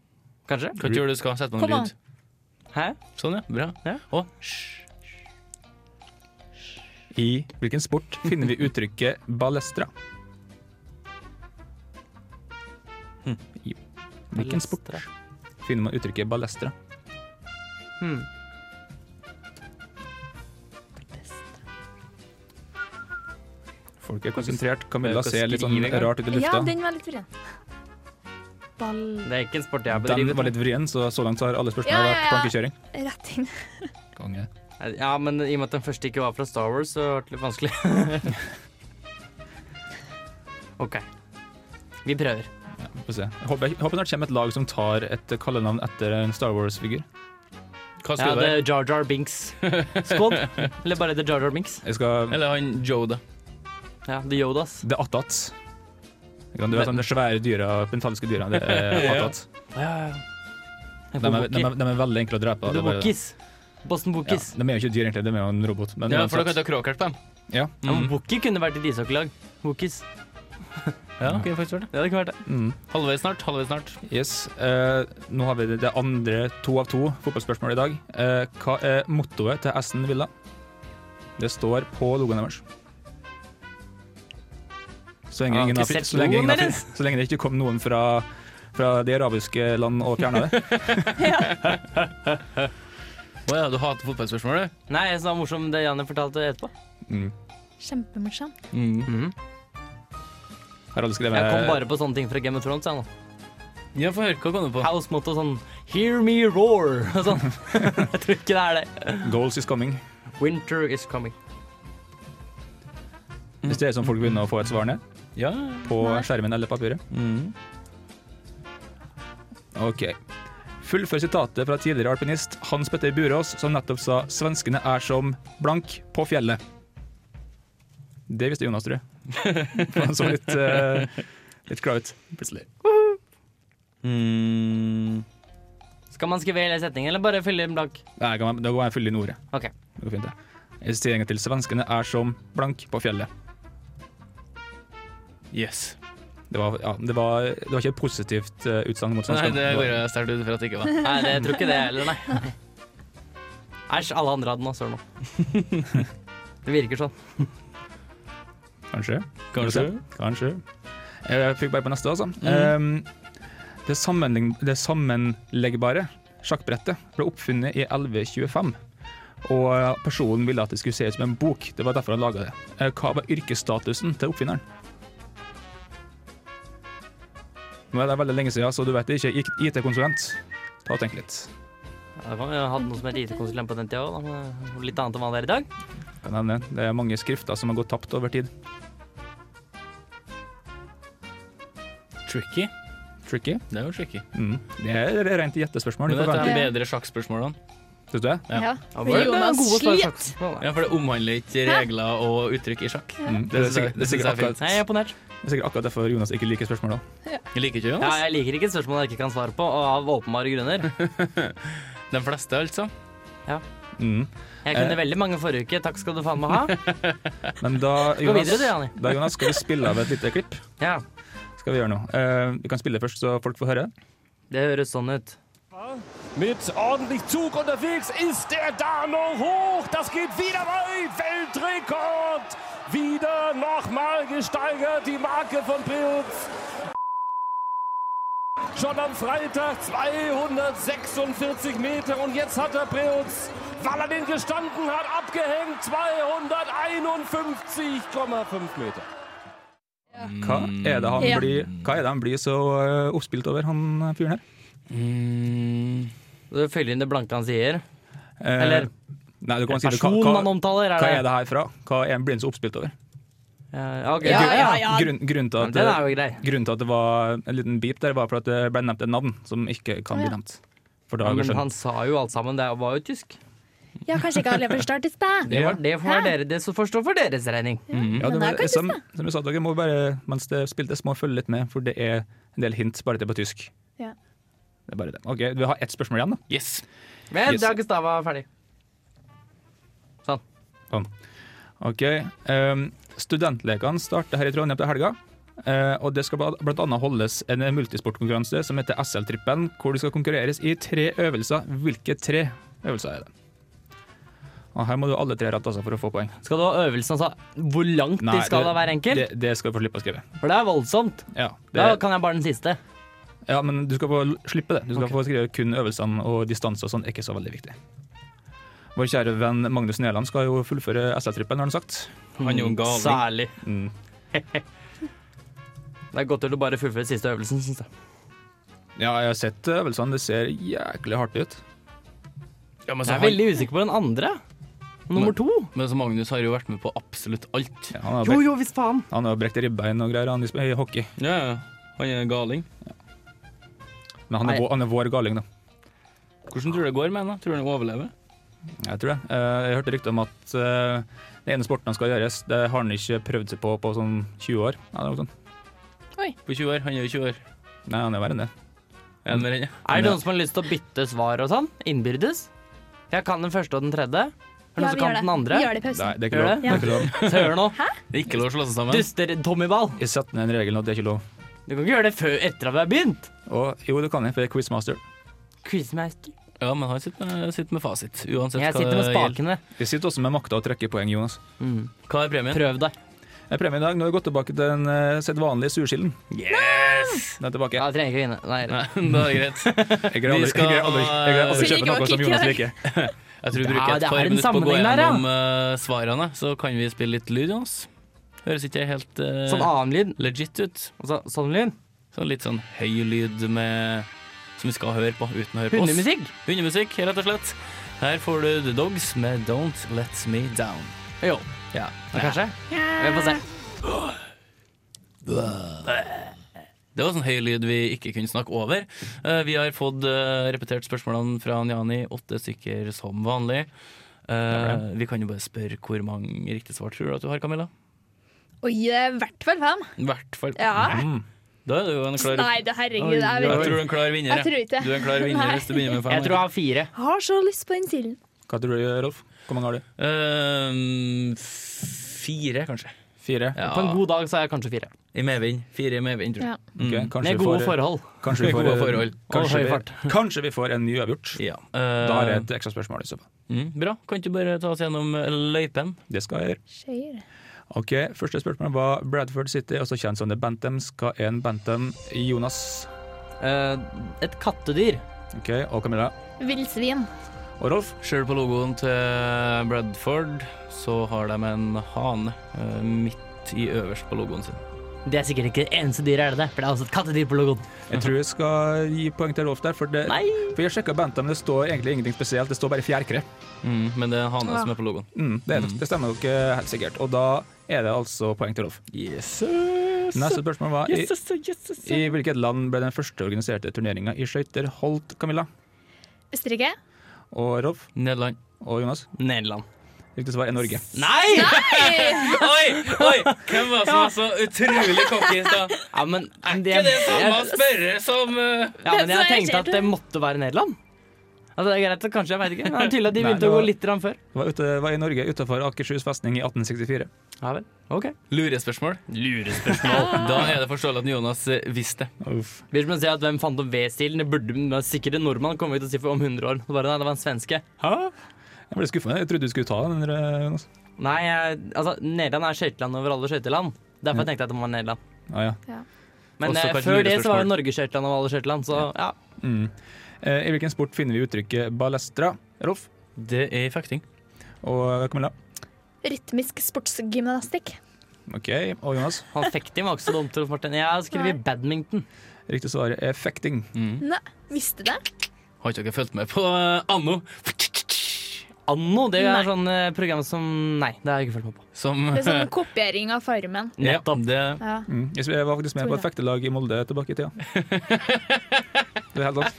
Speaker 3: kanskje?
Speaker 5: Hva gjør du skal sette på
Speaker 6: Kom
Speaker 5: noen
Speaker 6: an.
Speaker 5: lyd?
Speaker 3: Hæ?
Speaker 5: Sånn, ja. Bra.
Speaker 3: Ja.
Speaker 5: Å, hysj.
Speaker 7: I hvilken sport finner vi uttrykket balestra? Hm, I hvilken sport finner man uttrykket balestra?
Speaker 3: Hmm.
Speaker 7: Folk er konsentrert. Camilla
Speaker 5: Skal
Speaker 7: ser litt sånn
Speaker 5: skrive en gang?
Speaker 7: rart ut i
Speaker 6: Ja,
Speaker 7: lufta.
Speaker 6: den var litt vrien. Ball
Speaker 3: Det er ikke en sport jeg har
Speaker 7: Den
Speaker 3: bedrevet.
Speaker 7: var litt vrien, så så langt så har alle spørsmål
Speaker 6: Ja, ja,
Speaker 7: vært
Speaker 6: ja.
Speaker 7: plankekjøring.
Speaker 6: rett inn.
Speaker 7: Konge.
Speaker 3: Ja, men i og med at den første ikke var fra Star Wars, så ble det litt vanskelig. OK. Vi prøver.
Speaker 7: Få se. Jeg Håper, jeg håper snart kommer et lag som tar et kallenavn etter en Star Wars-figur.
Speaker 5: Hva skulle
Speaker 3: Ja,
Speaker 5: det være?
Speaker 3: det er Jar Jar Binks. Squad. Eller bare The Jar Jar Binks.
Speaker 7: Jeg skal
Speaker 5: Eller han Joda.
Speaker 3: Ja, The Yodas.
Speaker 7: Det er Atat. Du vet sånn, de svære dyra, mentaliske dyra. Det er
Speaker 5: Ja.
Speaker 7: Atat.
Speaker 3: De
Speaker 7: De er, de, er, de er veldig enkle å drepe. det er bare-
Speaker 3: Bookies. Boston
Speaker 7: Ja,
Speaker 3: Bookies.
Speaker 7: de er jo ikke dyr, egentlig. De er jo en robot. Men
Speaker 5: Ja,
Speaker 7: uansett.
Speaker 5: for da kan du ha kråkert på dem.
Speaker 7: Ja.
Speaker 3: Ja,
Speaker 5: Mm.
Speaker 3: men Bookie kunne vært et ishockeylag. Bookies.
Speaker 5: Ja, kunne faktisk vært det.
Speaker 3: Ja, det kunne vært det.
Speaker 7: Mm.
Speaker 5: Halvveis snart. halvveis snart.
Speaker 7: Yes. Eh, nå har vi det- det andre to av to fotballspørsmålet i dag. Eh, hva er mottoet til Aston Villa? Det står på logoen deres. Så lenge,
Speaker 3: Ja,
Speaker 7: ingen
Speaker 3: ikke
Speaker 7: har, fri-
Speaker 3: sett
Speaker 7: så lenge,
Speaker 3: noen
Speaker 7: ingen har,
Speaker 3: deres.
Speaker 7: fri- så lenge det ikke kom noen fra, fra de arabiske land og fjerna det.
Speaker 5: Å ja, du hater fotballspørsmål, du?
Speaker 3: Nei, jeg sa morsom det Janne fortalte etterpå.
Speaker 7: Mm.
Speaker 6: Kjempemorsomt.
Speaker 5: Mm.
Speaker 7: Her hadde skrevet
Speaker 3: Jeg kom bare på sånne ting fra Game of Thrones. Jeg, nå.
Speaker 5: Ja, få høre. Hva kom du på?
Speaker 3: House motto sånn Hear me roar og sånn. jeg tror ikke det er det.
Speaker 7: Goals is coming.
Speaker 3: Winter is coming.
Speaker 7: Hvis det er sånn folk begynner å få et svar ned
Speaker 5: Ja.
Speaker 7: på skjermen eller papiret.
Speaker 5: Mm.
Speaker 7: Ok. Fullfør sitatet fra tidligere alpinist Hans Petter Burås, som nettopp sa 'svenskene er som blank på fjellet'. Det visste Jonas, tror jeg. For Han så litt, eh, litt klar ut plutselig.
Speaker 5: Mm.
Speaker 3: Skal man skrive hele setningen eller bare fylle den blank?
Speaker 7: Nei, kan man- Da går jeg full inn ordet.
Speaker 3: Ok.
Speaker 7: Det går fint, det. Jeg sier egentlig til 'svenskene er som blank på fjellet'.
Speaker 5: Yes.
Speaker 7: Det var, ja, det var, det var ikke et positivt eh, utsagn mot
Speaker 5: Nei, det
Speaker 7: svenskene. Det var-
Speaker 5: går jeg sterkt ut fra at det ikke var.
Speaker 3: Nei, det jeg tror ikke det heller, nei. Æsj, alle andre hadde den også, nå. Det virker sånn.
Speaker 7: Kanskje.
Speaker 5: Kanskje.
Speaker 7: Kanskje. Jeg fikk bare på neste, altså. Ehm, det, sammenlign- det sammenleggbare sjakkbrettet ble oppfunnet i 1125. Og personen ville at det skulle se ut som en bok. Det var derfor han laga det. Eh, Hva var yrkesstatusen til oppfinneren? Nå er det veldig lenge siden, så du vet det ikke. I- IT-konsulent. Ta og Tenk litt.
Speaker 3: Ja, det var- Jeg hadde noe som het IT-konsulent på den tida òg, litt annet enn hva det er i dag.
Speaker 7: Kan nevne. Det er mange skrifter som har gått tapt over tid.
Speaker 5: Tricky.
Speaker 7: Tricky.
Speaker 5: Det er jo tricky.
Speaker 7: Mm. Det er rent gjettespørsmål.
Speaker 5: Men dette er
Speaker 7: Syns
Speaker 5: bedre sjakkspørsmålene.
Speaker 7: du det?
Speaker 6: Ja.
Speaker 3: Ja,
Speaker 6: For Jonas slit.
Speaker 5: Ja, for det omhandler ikke regler og uttrykk i sjakk.
Speaker 7: Mm. Det, er sikkert, det, er
Speaker 5: synes
Speaker 7: sikkert
Speaker 5: jeg
Speaker 7: akkurat,
Speaker 5: fint.
Speaker 3: Nei, jeg er imponert.
Speaker 7: det er sikkert akkurat derfor Jonas ikke liker spørsmål. da.
Speaker 5: Jeg liker ikke
Speaker 3: Ja,
Speaker 5: Jonas.
Speaker 3: jeg liker ikke et spørsmål jeg ikke kan svare på, og av åpenbare grunner.
Speaker 5: De fleste, altså.
Speaker 7: Mm.
Speaker 3: Jeg kunne veldig mange forrige uke, takk skal du faen meg ha.
Speaker 7: Men da,
Speaker 3: Gå
Speaker 7: Jonas,
Speaker 3: videre du, Jani.
Speaker 7: da Jonas, skal vi spille av et lite klipp.
Speaker 3: Ja,
Speaker 7: Skal Vi gjøre noe. Eh, vi kan spille det først, så folk får høre.
Speaker 3: det høres sånn ut.
Speaker 12: Mit ordentlich Zug unterwegs ist er da noch hoch. Das geht wieder weit. Weltrekord. Wieder nochmal gesteigert die Marke von Pilz. Schon am Freitag 246 Meter und jetzt hat er Preutz, weil er den gestanden hat, abgehängt 251,5 Meter.
Speaker 7: Hva er det han,
Speaker 6: Ja.
Speaker 7: blir, hva er det han blir så eh, oppspilt over, han eh, fyren her?
Speaker 5: Mm.
Speaker 3: Du fyller inn det blanke han sier.
Speaker 7: Eh,
Speaker 3: Eller
Speaker 7: nei, du kan si det. Hva,
Speaker 3: personen han
Speaker 7: hva,
Speaker 3: omtaler,
Speaker 7: hva er
Speaker 3: er det.
Speaker 7: det her fra? Hva er blir han så oppspilt over?
Speaker 3: Ja, ok.
Speaker 6: Ja, ja, ja.
Speaker 7: Grunn, grunnen, til
Speaker 3: Men
Speaker 7: at,
Speaker 3: Den er jo grei.
Speaker 7: grunnen til at det var en liten beep der, var for at det ble nevnt et navn som ikke kan bli nevnt. For da
Speaker 3: Ja,
Speaker 7: har vi
Speaker 3: men
Speaker 7: skjønt.
Speaker 3: han sa jo alt sammen, det var jo tysk.
Speaker 6: Ja, kanskje ikke alle forstår til sted.
Speaker 3: Det, var, det, får
Speaker 6: Hæ?
Speaker 3: dere, det forstår for deres regning.
Speaker 7: Ja, det
Speaker 6: Men
Speaker 7: var,
Speaker 6: jeg kan ikke
Speaker 7: som, som jeg sa, dere må bare, mens det spiltes, må følge litt med, for det er en del hint, bare det er på tysk.
Speaker 6: Ja.
Speaker 7: Det er bare det. Ok, vi har ett spørsmål igjen, da.
Speaker 5: Yes.
Speaker 3: Men
Speaker 7: Yes.
Speaker 3: dagens dag var ferdig. Sånn.
Speaker 7: Ok, ehm, Studentlekene starter her i Trondheim til helga. eh, og Det skal bla- blant annet holdes en multisportkonkurranse som heter SL-trippen, hvor det skal konkurreres i tre øvelser. Hvilke tre øvelser er det? Og Her må du ha alle tre rett altså, for å få poeng.
Speaker 3: Skal du ha øvelsen altså hvor langt de
Speaker 7: Nei,
Speaker 3: skal
Speaker 7: det-
Speaker 3: ha hver enkelt?
Speaker 7: Det, det skal du få slippe å skrive.
Speaker 3: For det er voldsomt.
Speaker 7: Ja,
Speaker 3: Da
Speaker 7: det,
Speaker 3: kan jeg bare den siste.
Speaker 7: ja, men du skal få l- slippe det. Du skal
Speaker 3: Ok.
Speaker 7: få skrive kun øvelsene og distanser og sånn. er Ikke så veldig viktig. Vår kjære venn Magnus Neland skal jo fullføre SL-trippen, har han sagt.
Speaker 5: Han er jo en galing.
Speaker 3: Mm, Særlig.
Speaker 7: Mm.
Speaker 3: Det er godt til å bare fullføre siste øvelsen, syns
Speaker 5: Altså,
Speaker 3: jeg.
Speaker 7: Ja, jeg har sett øvelsene. Det ser jæklig hardt ut.
Speaker 5: Ja, men,
Speaker 3: Jeg
Speaker 5: så
Speaker 3: er
Speaker 5: han,
Speaker 3: veldig usikker på den andre. Nummer to.
Speaker 5: men så Magnus har jo vært med på absolutt alt.
Speaker 7: Ja, han har
Speaker 3: Jo,
Speaker 7: brekt,
Speaker 3: jo, visst faen.
Speaker 7: han har brekt ribbein og greier han i sp- i hockey.
Speaker 5: Ja, ja. Han er en galing.
Speaker 7: Men han er,
Speaker 3: Nei.
Speaker 7: vår, han er vår galing, da.
Speaker 5: Hvordan tror du det går med han? da? Tror du han overlever?
Speaker 7: Jeg tror det. Eh, Jeg hørte rykte om at eh, den ene sporten han skal gjøres, det har han ikke prøvd seg på på sånn 20 år. Ja, det er noe sånt.
Speaker 5: På 20 år? Han er jo 20 år.
Speaker 7: Nei, han er verre enn det.
Speaker 5: Er han mer enn det?
Speaker 3: Er det noen som har lyst til å bytte svar og sånn? Innbyrdes? Jeg kan den første og den tredje. Er det noen
Speaker 6: Ja,
Speaker 3: som
Speaker 6: vi gjør
Speaker 3: kan
Speaker 6: det.
Speaker 3: den andre?
Speaker 6: Vi gjør det i
Speaker 7: Nei,
Speaker 6: pausen.
Speaker 7: det er ikke
Speaker 3: Gjør
Speaker 7: lov. Det er ikke lov.
Speaker 3: Så hør nå.
Speaker 5: Det er ikke lov å slå seg sammen.
Speaker 3: Duster Tommyball.
Speaker 7: Jeg setter ned en regel nå, det er ikke lov.
Speaker 3: Du kan ikke gjøre det før etter at vi har begynt.
Speaker 7: Og, jo, det kan jeg, for jeg er quizmaster.
Speaker 3: Quizmeister.
Speaker 5: Ja, men han sitter med, sitter med fasit. Uansett
Speaker 3: Jeg
Speaker 5: hva
Speaker 3: sitter med
Speaker 5: det gjelder.
Speaker 3: spakene.
Speaker 7: Jeg sitter også med makta og trekker poeng, Jonas.
Speaker 5: Hva er premien?
Speaker 3: Prøv deg.
Speaker 7: Premien i dag. Nå har vi gått tilbake til den eh, sedvanlige sursilden.
Speaker 5: Yes!
Speaker 7: Den er tilbake.
Speaker 3: Ja, trenger ikke vinne. Nei,
Speaker 5: da er det greit.
Speaker 7: Jeg greier
Speaker 5: Vi
Speaker 7: aldri,
Speaker 5: skal-
Speaker 7: jeg greier aldri, jeg greier aldri å kjøpe noe som Jonas liker.
Speaker 5: Jeg tror vi
Speaker 3: Ja,
Speaker 5: bruker et
Speaker 3: det
Speaker 5: par
Speaker 3: er en
Speaker 5: minutter på å gå
Speaker 3: sammenheng der, ja.
Speaker 5: gjennom eh, svarene, så kan vi spille litt lyd, Jonas. Høres ikke helt eh,
Speaker 3: Sånn annen lyd.
Speaker 5: legit ut.
Speaker 3: Altså, sånn lyd.
Speaker 5: Sånn litt sånn høy lyd med, som vi skal høre på uten å høre på oss.
Speaker 3: Hundemusikk.
Speaker 5: Hundemusikk, rett og slett. Her får du The Dogs med Don't Let Me Down.
Speaker 3: Jo.
Speaker 5: Ja.
Speaker 3: Kanskje. Vi får se.
Speaker 5: Det var sånn høy lyd vi ikke kunne snakke over. Eh, vi har fått eh, repetert spørsmålene fra Njani, åtte stykker som vanlig. Eh, vi kan jo bare spørre hvor mange riktige svar tror du at du har, Camilla?
Speaker 6: Oi, det er i hvert fall fem.
Speaker 5: I hvert fall.
Speaker 6: Ja.
Speaker 5: Mm. Da er du jo en klar
Speaker 6: Nei, det herregud, jeg
Speaker 5: jeg,
Speaker 6: vet
Speaker 5: tror du er en klar vinner.
Speaker 6: Jeg tror ikke det.
Speaker 5: Du er en klar vinner
Speaker 6: Nei.
Speaker 5: hvis du begynner med fem.
Speaker 3: Jeg tror jeg har fire.
Speaker 6: Jeg har så lyst på den silden.
Speaker 7: Hva tror du, Rolf? Hvor mange har du?
Speaker 5: Ehm, f- fire, kanskje.
Speaker 7: Fire?
Speaker 5: Ja.
Speaker 3: På en god dag så er jeg kanskje fire.
Speaker 5: I medvind. Fire i medvind, tror jeg.
Speaker 3: Ja.
Speaker 5: Mm.
Speaker 7: Ok, kanskje
Speaker 3: Med
Speaker 7: vi
Speaker 3: gode
Speaker 7: får-
Speaker 3: forhold.
Speaker 7: Kanskje vi får,
Speaker 5: Med gode forhold.
Speaker 7: Kanskje,
Speaker 5: Og høy fart.
Speaker 7: vi, kanskje vi får en ny avgjort.
Speaker 5: Eh,
Speaker 7: da er det et ekstra spørsmål. i så fall.
Speaker 5: Mm, bra. Kan du bare ta oss gjennom løypen?
Speaker 7: Det skal jeg gjøre.
Speaker 6: Skjer.
Speaker 7: Ok, Første spørsmål var Bradford City, også kjent som The Bantams. Hva er en Bantam, Jonas?
Speaker 3: Eh, et kattedyr.
Speaker 7: Ok, Og Camilla?
Speaker 6: Villsvin.
Speaker 7: Og Rolf?
Speaker 5: Ser du på logoen til Bradford, så har de en hane eh, midt i øverst på logoen sin.
Speaker 3: Det er sikkert ikke det eneste dyret, er det det? For det er også et kattedyr på logoen.
Speaker 7: Jeg tror jeg skal gi poeng til Rolf der, for, det,
Speaker 3: Nei.
Speaker 7: for jeg sjekka Bantam, det står egentlig ingenting spesielt. Det står bare fjærkre.
Speaker 5: Mm, men det er en hane
Speaker 7: Ja.
Speaker 5: som er på logoen.
Speaker 7: Mm, det, er- det stemmer nok eh, helt sikkert. Og da er det altså poeng til Rolf. Neste spørsmål var i, i hvilket land ble den første organiserte turneringa i skøyter holdt, Camilla?
Speaker 6: Østerrike.
Speaker 7: Og Rolf?
Speaker 5: Nederland.
Speaker 7: Og Jonas?
Speaker 3: Nederland.
Speaker 7: Riktig svar er Norge.
Speaker 3: Nei!
Speaker 5: Oi, oi! Hvem var det som var så utrolig cocky i stad?
Speaker 3: Ja, men det,
Speaker 5: Er det samme å spørre som eh,
Speaker 3: Ja, men jeg tenkte at det måtte være Nederland. Altså, det er greit, så kanskje jeg vet ikke. Men det er tydelig at de
Speaker 7: Nei,
Speaker 3: begynte
Speaker 7: det
Speaker 3: å
Speaker 7: var-
Speaker 3: gå litt grann før.
Speaker 7: Det var, ute, var i Norge, utenfor Akershus festning i 1864.
Speaker 3: Ja vel. Ok.
Speaker 5: Lurespørsmål? Lurespørsmål. da er det forståelig at Jonas eh, visste det.
Speaker 7: Uff.
Speaker 3: Hvis man sier at hvem fant opp V-stilen, det burde men sikkert en nordmann kommer vi til å si for om 100 år. Så bare, nei, det var en svenske.
Speaker 7: Hæ? Jeg ble skuffa. Jeg trodde du skulle ta den. eh, Jonas.
Speaker 3: Nei, jeg, altså, Nederland er skøyteland over alle skøyteland. Derfor tenkte jeg at det må være Nederland.
Speaker 7: Ah, ja.
Speaker 3: Men
Speaker 7: Også
Speaker 3: eh,
Speaker 7: kanskje
Speaker 3: før det så var
Speaker 7: lurespørsmål.
Speaker 3: jo Norge skøyteland over alle skøyteland, så ja.
Speaker 7: Mm. Eh, I hvilken sport finner vi uttrykket balestra, Rolf?
Speaker 5: Det er i fekting.
Speaker 7: Og Camilla?
Speaker 6: Rytmisk sportsgymnastikk.
Speaker 7: OK. Og Jonas?
Speaker 3: Han fekting var ikke så dumt, Rolf Martin. Jeg har skrevet badminton.
Speaker 7: Riktig svar er fekting.
Speaker 6: Nei, visste det?
Speaker 5: Har ikke dere fulgt med på eh, anno?
Speaker 3: Anno, det er
Speaker 6: Nei.
Speaker 3: sånn eh, program som Nei, det har jeg ikke fulgt med på.
Speaker 5: Som
Speaker 6: Det er sånn kopiering av Farmen.
Speaker 5: Nettopp. Det,
Speaker 6: Ja.
Speaker 7: Mm. Jeg sp- Jeg var faktisk med på et
Speaker 6: Tror
Speaker 7: fektelag i Molde tilbake i tida. Det er helt sant.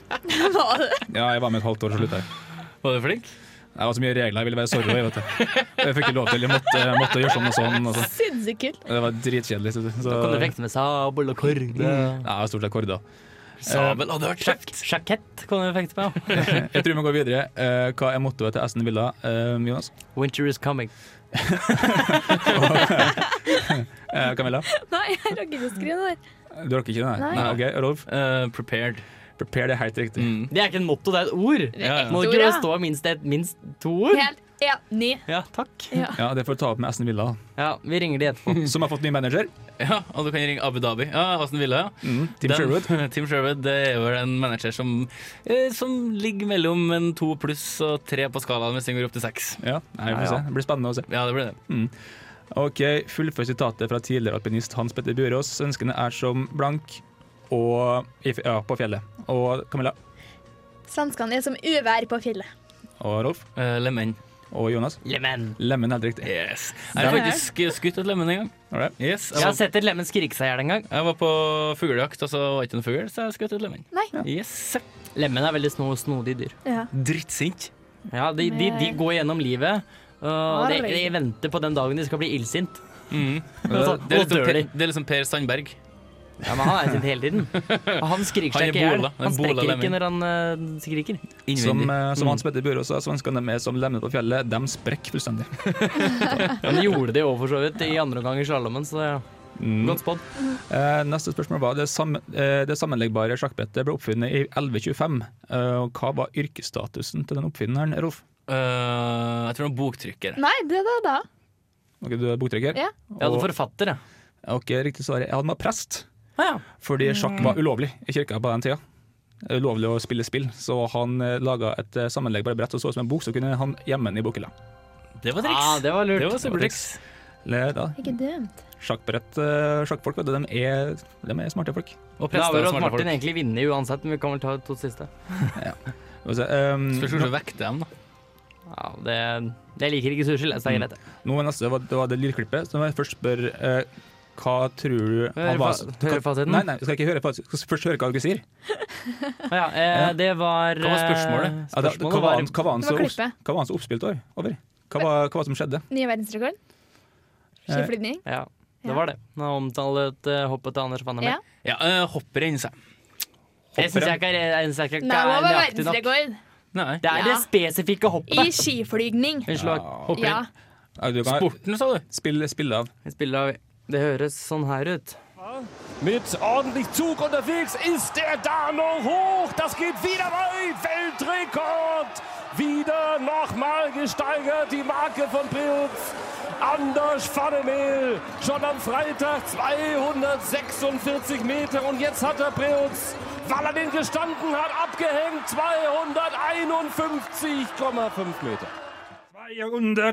Speaker 6: Var det?
Speaker 7: Ja, jeg var med et halvt år og slutta. jeg.
Speaker 5: var du flink?
Speaker 7: Det var så mye regler, jeg ville være sorry. Jeg, vet det. jeg fikk ikke lov til. Jeg måtte, jeg måtte gjøre sånn og sånn. Og sånn.
Speaker 6: Sinnssykt kult.
Speaker 7: det var dritkjedelig. Så, så,
Speaker 3: Kan du fekte med sabel og eh.
Speaker 7: Mm.
Speaker 3: korg?
Speaker 7: Ja, stort sett korda.
Speaker 5: Sabel hadde vært kjekt.
Speaker 3: Sjakett kan du fekte med. ja.
Speaker 7: Jeg tror vi må gå videre. Eh, Hva er mottoet til Aston Villa, eh, Jonas?
Speaker 3: Winter is coming.
Speaker 7: Eh, Camilla?
Speaker 6: Nei, jeg rakk ikke å skrive det der.
Speaker 7: Du rakk ikke det?
Speaker 6: Nei.
Speaker 7: OK, Rolf?
Speaker 5: Eh, prepared.
Speaker 7: Prepare, det er helt riktig.
Speaker 5: Mm.
Speaker 3: Det er ikke en motto, det er et ord.
Speaker 6: Det er ett
Speaker 3: Må
Speaker 6: ord,
Speaker 3: ikke det
Speaker 6: ja.
Speaker 3: stå minst, et, minst to ord?
Speaker 6: Helt enig.
Speaker 3: Ja, takk.
Speaker 6: Ja.
Speaker 7: Ja, Det får du ta opp med Aston Villa,
Speaker 3: Ja, Vi ringer de etterpå.
Speaker 7: som har fått ny manager.
Speaker 5: Ja, og du kan ringe Abu Dhabi. Ja, Aston Villa, ja.
Speaker 7: Mm, Tim
Speaker 5: Den-
Speaker 7: Sherwood.
Speaker 5: Tim Sherwood det er vel en manager som, eh, som ligger mellom en to pluss og tre på skalaen hvis den går opp til seks.
Speaker 7: Ja, nei, vi får
Speaker 5: Ja, ja.
Speaker 7: se. Det blir spennende å se.
Speaker 5: Ja, det blir det.
Speaker 7: OK, fullfør sitatet fra tidligere alpinist Hans Petter Burås. Svenskene er som blank og i, f- ja, på fjellet. Og Camilla
Speaker 6: Svenskene er som uvær på fjellet.
Speaker 7: og Rolf
Speaker 5: Eh, lemen.
Speaker 7: og Jonas.
Speaker 3: Lemen.
Speaker 7: Lemmen, helt riktig.
Speaker 5: Yes. Jeg har faktisk skutt et lemen en gang.
Speaker 7: All right.
Speaker 5: Yes,
Speaker 3: Jeg har
Speaker 5: jeg, var,
Speaker 3: sett et lemen skrike seg i hjel en gang.
Speaker 5: jeg var på fuglejakt, og så var det ikke noen fugl, så jeg skjøt et lemen.
Speaker 6: Nei.
Speaker 5: Yes.
Speaker 3: Lemen er veldig sno, snodig dyr.
Speaker 6: Ja.
Speaker 5: Drittsint.
Speaker 3: Ja, De, de, de går gjennom livet. øh, Og de, de venter på den dagen de skal bli illsint.
Speaker 5: Mm.
Speaker 3: Og så-
Speaker 5: Det, er
Speaker 3: og dør de.
Speaker 5: liksom, det er liksom Per Sandberg.
Speaker 3: Ja, men han er sint hele tiden. Og han skriker
Speaker 5: Han er
Speaker 3: seg ikke i hjel.
Speaker 5: bola. Han er
Speaker 3: Han
Speaker 5: bola
Speaker 3: sprekker
Speaker 5: lemming.
Speaker 3: ikke når han øh, skriker.
Speaker 7: Som,
Speaker 5: Innvendig.
Speaker 7: eh, som Hans Petter Burås sa, svenskene er som lemmen på fjellet. De sprekker fullstendig.
Speaker 3: Han gjorde det òg, for så vidt, i andre omgang i slalåmen, så ja.
Speaker 7: Mm.
Speaker 3: godt spådd.
Speaker 7: Eh, neste spørsmål var det, sammen, eh, det sammenleggbare sjakkbrettet ble oppfunnet i 1125. Eh, og hva var yrkesstatusen til den oppfinneren, Rolf?
Speaker 5: Eh, jeg tror han er boktrykket.
Speaker 6: Nei, det da, da.
Speaker 7: Ok, du er boktrekker?
Speaker 6: Ja.
Speaker 3: Jeg hadde forfatter,
Speaker 7: jeg. Ok, riktig svar. Jeg hadde med prest.
Speaker 3: Ah, ja.
Speaker 7: Fordi sjakk var
Speaker 3: Mm.
Speaker 7: ulovlig i kirka på den tida. Det er Ulovlig å spille spill, så han laga et eh, sammenleggbart brett og så ut som en bok, så kunne han gjemme den i bokhylla.
Speaker 3: Det var triks. Ah, det var lurt.
Speaker 7: Det var supertriks. Le- da.
Speaker 6: Ikke dømt.
Speaker 7: Sjakkbrett, eh, sjakkfolk, vet du, de er, de er smarte folk.
Speaker 3: Og prester er smarte Martin egentlig vinner uansett, men vi kan vel ta to siste.
Speaker 7: Ja. Skal vi se, ehm,
Speaker 5: Spørs hvordan du vekter dem, da.
Speaker 3: Ja, det, jeg liker ikke sushi, så det er greit. det.
Speaker 7: Nå var neste, det var- det var det lydklippet. Så må jeg først spørre eh, hva tror du
Speaker 3: Høre fa- høre fasiten?
Speaker 7: Nei, nei, vi skal ikke høre fasiten. Vi skal først høre hva dere sier.
Speaker 3: Ah, ja, eh, det var
Speaker 7: Hva var spørsmålet?
Speaker 3: eh,
Speaker 7: Ja, da,
Speaker 3: spørsmålet
Speaker 7: hva var hans- hva var hans
Speaker 6: Det var
Speaker 7: opps-
Speaker 6: klippet.
Speaker 7: hva var hans oppspilt over? over? Hva var, hva var det som skjedde?
Speaker 6: Nye verdensrekorden? Skiflygning?
Speaker 3: Ja,
Speaker 6: Ja.
Speaker 3: det var det. Nå omtalet eh, hoppet til Anders Vannemel.
Speaker 6: Ja.
Speaker 5: Ja,
Speaker 3: eh,
Speaker 5: uh, hopprenn, sa jeg.
Speaker 3: Det syns jeg ikke er, jeg synes jeg ikke
Speaker 6: Nei, det var
Speaker 3: er nøyaktig nok.
Speaker 6: verdensrekord.
Speaker 3: Det er det
Speaker 6: Ja.
Speaker 3: spesifikke
Speaker 6: I
Speaker 3: hoppet.
Speaker 6: skiflygning.
Speaker 3: Unnskyld. Hopper
Speaker 6: Ja.
Speaker 5: Sporten, sa du?
Speaker 7: Spill, spill av.
Speaker 3: Spill av. Det høres sånn her ut.
Speaker 12: Mit ordentlich Zug unterwegs ist der da noch hoch. Das geht wieder weit. Weltrekord. Wieder nochmal gesteigert die Marke von Pilz. Anders Pfannemehl schon am Freitag 246 Meter und jetzt hat er Pilz, weil er den gestanden hat, abgehängt 251,5 Meter.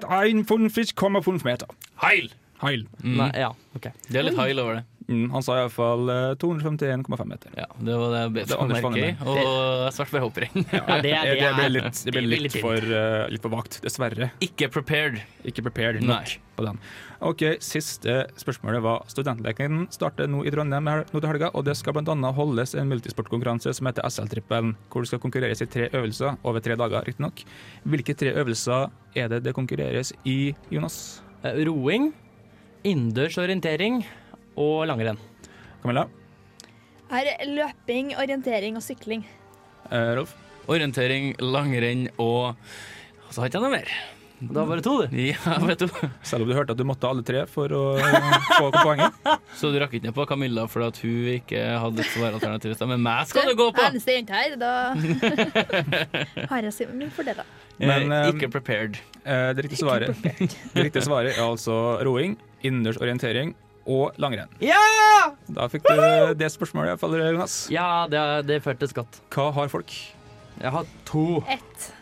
Speaker 7: 151,5 meter. Heil! Heil.
Speaker 3: Nei, ja, ok. Eh,
Speaker 5: Det er litt heil over det.
Speaker 7: Mm, han sa iallfall 251,5 meter.
Speaker 5: Ja, det var det jeg bet
Speaker 7: Det er Anders
Speaker 5: meg merke i.
Speaker 7: Vannemel.
Speaker 5: Og jeg svarte for hopprenn.
Speaker 7: Ja, det, ble litt, det ble litt, for, eh, litt for vagt, dessverre.
Speaker 5: Ikke prepared.
Speaker 7: Ikke prepared nok
Speaker 5: Nei.
Speaker 7: på den. Ok, Siste spørsmålet var studentleken starter nå i Trondheim her- nå til helga, og det skal bl.a. holdes en multisportkonkurranse som heter SL-trippelen, hvor det skal konkurreres i tre øvelser over tre dager, riktignok. Hvilke tre øvelser er det det konkurreres i, Jonas?
Speaker 3: Roing, innendørs orientering og langrenn.
Speaker 7: Camilla?
Speaker 6: Her er løping, orientering og sykling.
Speaker 7: Rolf?
Speaker 5: Orientering, langrenn og Så har ikke jeg noe mer.
Speaker 3: Da var det to, du.
Speaker 5: Ja, vet du.
Speaker 7: Selv om du hørte at du måtte alle tre for å få poenget.
Speaker 5: Så du rakk ikke ned på Camilla fordi at hun ikke hadde et svaralternativ i stad, men meg skal du gå på!
Speaker 6: Eneste jente her, da har jeg sine mine fordeler.
Speaker 5: Eh, ikke prepared.
Speaker 7: eh, det riktige svaret, det riktige svaret er altså roing, innendørs orientering og langrenn.
Speaker 3: Ja!
Speaker 7: Da fikk du det spørsmålet, iallfall, Jonas.
Speaker 3: Ja, det, det føltes godt.
Speaker 7: Hva har folk?
Speaker 3: Jeg har to.
Speaker 6: Ett.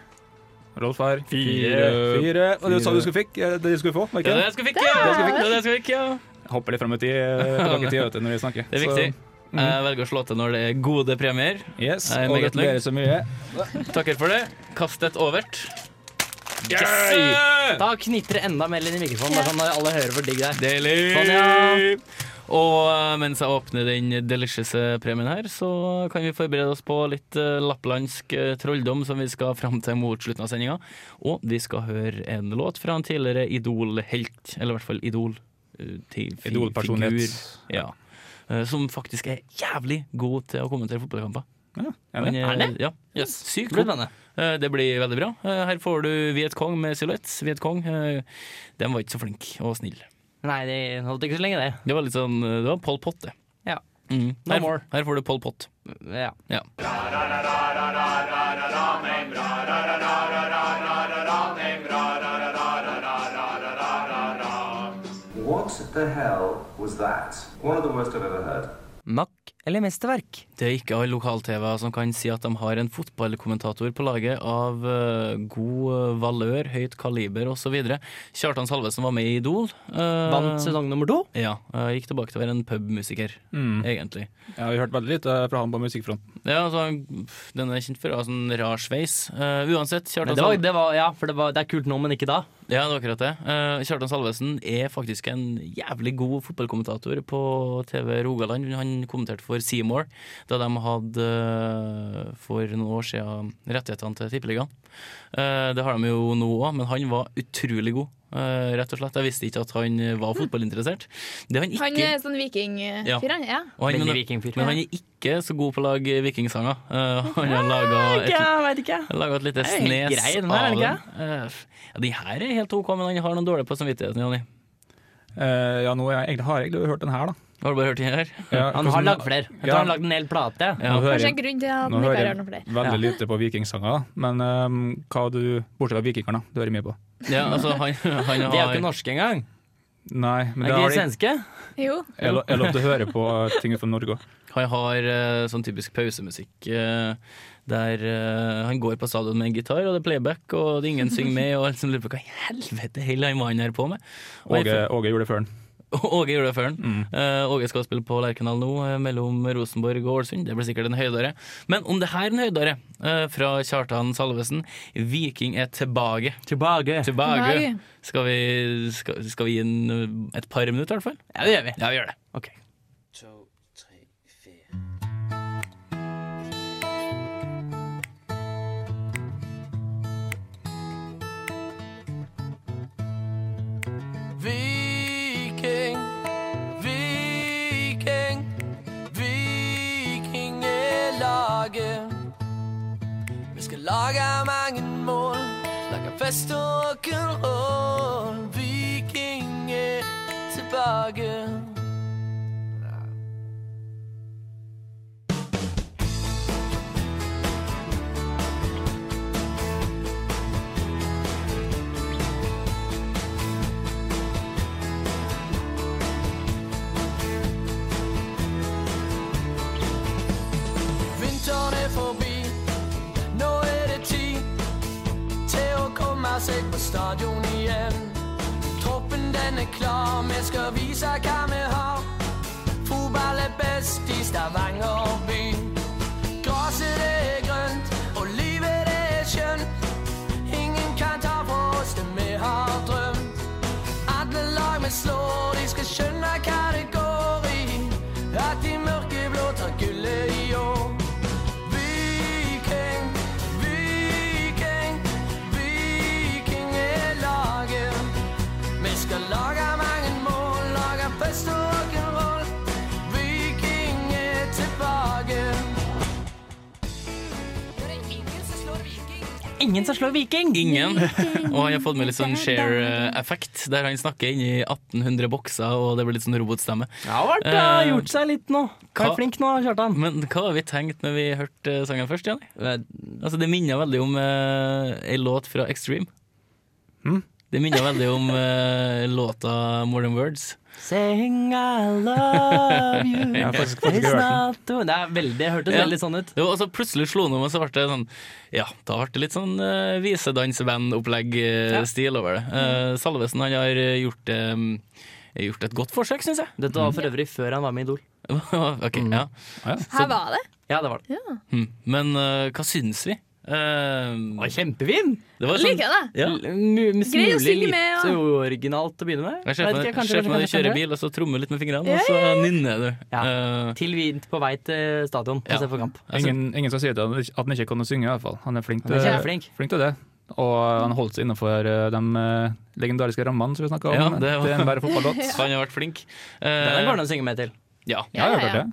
Speaker 7: Rolf har
Speaker 3: Fire.
Speaker 7: Fire. Og det du sa du
Speaker 3: Fire.
Speaker 7: skulle fikk, eh, det du skulle få, var ikke
Speaker 5: Ja, det jeg skal fikk, ja.
Speaker 7: Det jeg skulle fikk.
Speaker 5: Det jeg skal fikk, ja.
Speaker 7: Jeg Hopper litt fram i tid, eh, på lang tid vet du, når vi snakker.
Speaker 5: Det er viktig. Jeg velger å slå til når det er gode premier.
Speaker 7: Yes,
Speaker 5: Jeg er
Speaker 7: og
Speaker 5: meget nøyd.
Speaker 7: gratulerer så mye.
Speaker 5: Takker for det. Kast et overt.
Speaker 3: Yes! Da knitrer det enda mer inn i mikrofonen, bare sånn at alle hører hvor digg det er.
Speaker 5: Deilig!
Speaker 3: Sånn, ja.
Speaker 5: Og eh, mens jeg åpner den delicious premien her, så kan vi forberede oss på litt eh, lapplandsk eh, trolldom som vi skal fram til mot slutten av sendinga. Og vi skal høre en låt fra en tidligere Idol-helt, eller i hvert fall eh, Idol-figur.
Speaker 7: Idol-personlighet.
Speaker 5: Ja. Eh, Som faktisk er jævlig god til å kommentere fotballkamper.
Speaker 7: er det?
Speaker 5: Han
Speaker 3: Er det?
Speaker 5: Ja.
Speaker 3: Yes.
Speaker 5: Sykt
Speaker 3: Blir
Speaker 5: god.
Speaker 3: spennende.
Speaker 5: Eh, Det blir veldig bra. Eh, Her får du Vietkong med silhuett. Vietkong, eh, de var ikke så flinke og snille.
Speaker 3: Nei, det holdt ikke så lenge, det.
Speaker 5: Det var litt sånn Det var Pol Pot, det.
Speaker 3: Ja.
Speaker 5: Mm.
Speaker 3: No
Speaker 5: her,
Speaker 3: more.
Speaker 5: her får du Pol Pot.
Speaker 3: Ja.
Speaker 5: Ja.
Speaker 13: What the hell was that? One of the worst I've ever heard.
Speaker 3: Makk eller mesterverk?
Speaker 5: Det er ikke alle lokal-TV-er som kan si at de har en fotballkommentator på laget av eh, god eh, valør, høyt kaliber osv. Kjartan Salvesen var med i Idol. eh,
Speaker 3: Eh, Vant sesong nummer to?
Speaker 5: Ja. eh, gikk tilbake til å være en pubmusiker,
Speaker 7: Mm.
Speaker 5: egentlig.
Speaker 7: Ja, vi hørte veldig litt eh, fra han på musikkfronten.
Speaker 5: Ja, altså, han- pff, den er kjent for å ha sånn rar sveis. Eh, uansett, Kjartan
Speaker 3: Men det var,
Speaker 5: Sal-
Speaker 3: det var, ja, for det, var, det er kult nå, men ikke da.
Speaker 5: Ja, det var akkurat det. Eh, Kjartan Salvesen er faktisk en jævlig god fotballkommentator på TV Rogaland. Han kommenterte for Seymour da de hadde eh, for noen år siden rettighetene til Tippeligaen. Eh, det har de jo nå òg, men han var utrolig god, eh, rett og slett. Jeg visste ikke at han var fotballinteressert. Det er han ikke.
Speaker 6: Han er sånn vikingfyr, han. Ja.
Speaker 5: Og han, men, men han er ikke så god på å lage vikingsanger. Eh, han har laga et,
Speaker 3: veit ikke.
Speaker 5: jeg laga et lite
Speaker 3: Det er jo helt
Speaker 5: snes
Speaker 3: grei, den her, er den ikke?
Speaker 5: den. Eh, Ja, de her er helt OK, men han har noen dårlige på samvittigheten, Jonny.
Speaker 7: Eh, ja, nå har jeg egentlig, har jeg egentlig hørt den her, da.
Speaker 5: Har du bare hørt den her?
Speaker 7: Ja,
Speaker 3: Han har
Speaker 7: hvordan-
Speaker 3: lagd flere. Jeg tror
Speaker 7: Ja.
Speaker 3: han lagde en hel
Speaker 7: Nå
Speaker 3: plate.
Speaker 7: hører
Speaker 6: Kanskje
Speaker 7: jeg-
Speaker 6: en grunn til at han
Speaker 7: Nå
Speaker 6: ikke
Speaker 7: hører
Speaker 6: har
Speaker 7: jeg
Speaker 6: noen flere.
Speaker 7: veldig
Speaker 6: Ja.
Speaker 7: lite på vikingsanger, men eh, ehm, hva du, bortsett fra vikingerne, du hører mye på.
Speaker 5: Ja, altså, han, han har
Speaker 3: De er jo ikke norske engang.
Speaker 7: Nei, men
Speaker 5: Er
Speaker 7: det
Speaker 5: ikke
Speaker 7: har
Speaker 5: de
Speaker 7: de
Speaker 5: svenske?
Speaker 6: Jo.
Speaker 7: Jeg lo- jeg lovte å høre på ting fra Norge òg.
Speaker 5: Han har eh, sånn typisk pausemusikk eh, der eh, han går på stadion med en gitar, og det er playback, og det er ingen synger med, og alle som lurer på hva i helvete holder han mannen her på med? Og jeg
Speaker 7: Åge, Åge gjorde det før han.
Speaker 5: Åge gjorde det før han. Eh, Åge skal spille på Lerkendal nå, eh, mellom Rosenborg og Ålesund. Det blir sikkert en høydare. Men om det her er en høydare, eh, fra Kjartan Salvesen Viking er tilbake.
Speaker 3: Tilbake.
Speaker 8: Tilbake.
Speaker 5: Skal, vi, skal, skal vi gi den et par minutter, i hvert fall?
Speaker 3: Ja, det gjør vi.
Speaker 5: Ja, vi gjør det.
Speaker 14: Viking, Viking, Vikingelaget. Vi skal lage mange mål, lage fest og rock'n'roll. Viking er tilbake. Vinteren er forbi, nå er det tid til å komme seg på stadion igjen. Troppen den er klar, vi skal vise hva vi har. Fotball er best i Stavanger by. Gresset det er grønt, og livet det er skjønt. Ingen kan ta fra oss det vi har drømt. Alle lag vi slår, de skal skjønne hva det går i. At de mørkeblå tar gullet i år. Viking, Viking, Viking er laget. Vi skal lage mange mål, lage fest og rock'n'roll. Viking er tilbake.
Speaker 3: Ingen som slår Viking!
Speaker 5: Ingen. Og han har fått med litt sånn share-effekt, der han snakker inni 1800 bokser, og det blir litt sånn robotstemme.
Speaker 3: Ja, har vært, uh,
Speaker 5: Eh,
Speaker 3: gjort seg litt nå. Hva er flink nå, Kjartan?
Speaker 5: Men hva har vi tenkt når vi hørte eh, sangen først, Janni? Altså, det minner veldig om eh, ei låt fra Extreme. Det minner veldig om eh, låta More Than Words.
Speaker 3: Saying I love you
Speaker 5: Jeg har faktisk- faktisk
Speaker 3: It's
Speaker 5: hørt den.
Speaker 3: not the- Det er veldig, det hørtes
Speaker 5: Ja.
Speaker 3: veldig sånn ut.
Speaker 5: Det var, altså, plutselig slo han om, og så ble det sånn Ja, da ble det litt sånn uh,
Speaker 3: Ja.
Speaker 5: visedansband-opplegg-stil over det.
Speaker 3: Mm.
Speaker 5: Eh, Salvesen han har eh, gjort, eh, gjort et godt forsøk, syns jeg.
Speaker 3: Dette var for øvrig før han var med i Idol.
Speaker 5: ok,
Speaker 3: Mm.
Speaker 5: ja.
Speaker 6: Her var det.
Speaker 3: Ja, det var det.
Speaker 6: Ja.
Speaker 5: Hm, Men eh, hva syns vi? Uh,
Speaker 3: Kjempefin!
Speaker 5: Det var sånn-
Speaker 6: Liker jeg det.
Speaker 5: Ja.
Speaker 3: L- mu- mu-
Speaker 6: Grei å
Speaker 3: Mulig
Speaker 6: synge
Speaker 3: litt
Speaker 6: med, ja.
Speaker 3: uoriginalt til å begynne med.
Speaker 5: Jeg ser
Speaker 3: Vet
Speaker 5: for
Speaker 3: ikke,
Speaker 5: meg ser for meg
Speaker 3: kanskje, kanskje,
Speaker 5: du
Speaker 3: kanskje,
Speaker 5: kjører
Speaker 3: kanskje.
Speaker 5: bil, og så trommer litt med fingrene,
Speaker 3: Ja,
Speaker 5: og så
Speaker 3: ja, ja.
Speaker 5: nynner du. Eh,
Speaker 3: Til vi på vei til stadion og se på kamp.
Speaker 7: Ingen, ingen som sier til han at han ikke kan å synge, i hvert fall. Han er flink til,
Speaker 3: Han er kjempeflink.
Speaker 7: flink til det. Og han holdt seg innenfor eh, de eh, legendariske rammene som vi snakka om.
Speaker 5: ja, det
Speaker 7: til enhver fotballåt.
Speaker 5: Han har vært flink. Eh,
Speaker 3: Den går det an å synge med til.
Speaker 5: Ja,
Speaker 7: Ja, ja, klart det.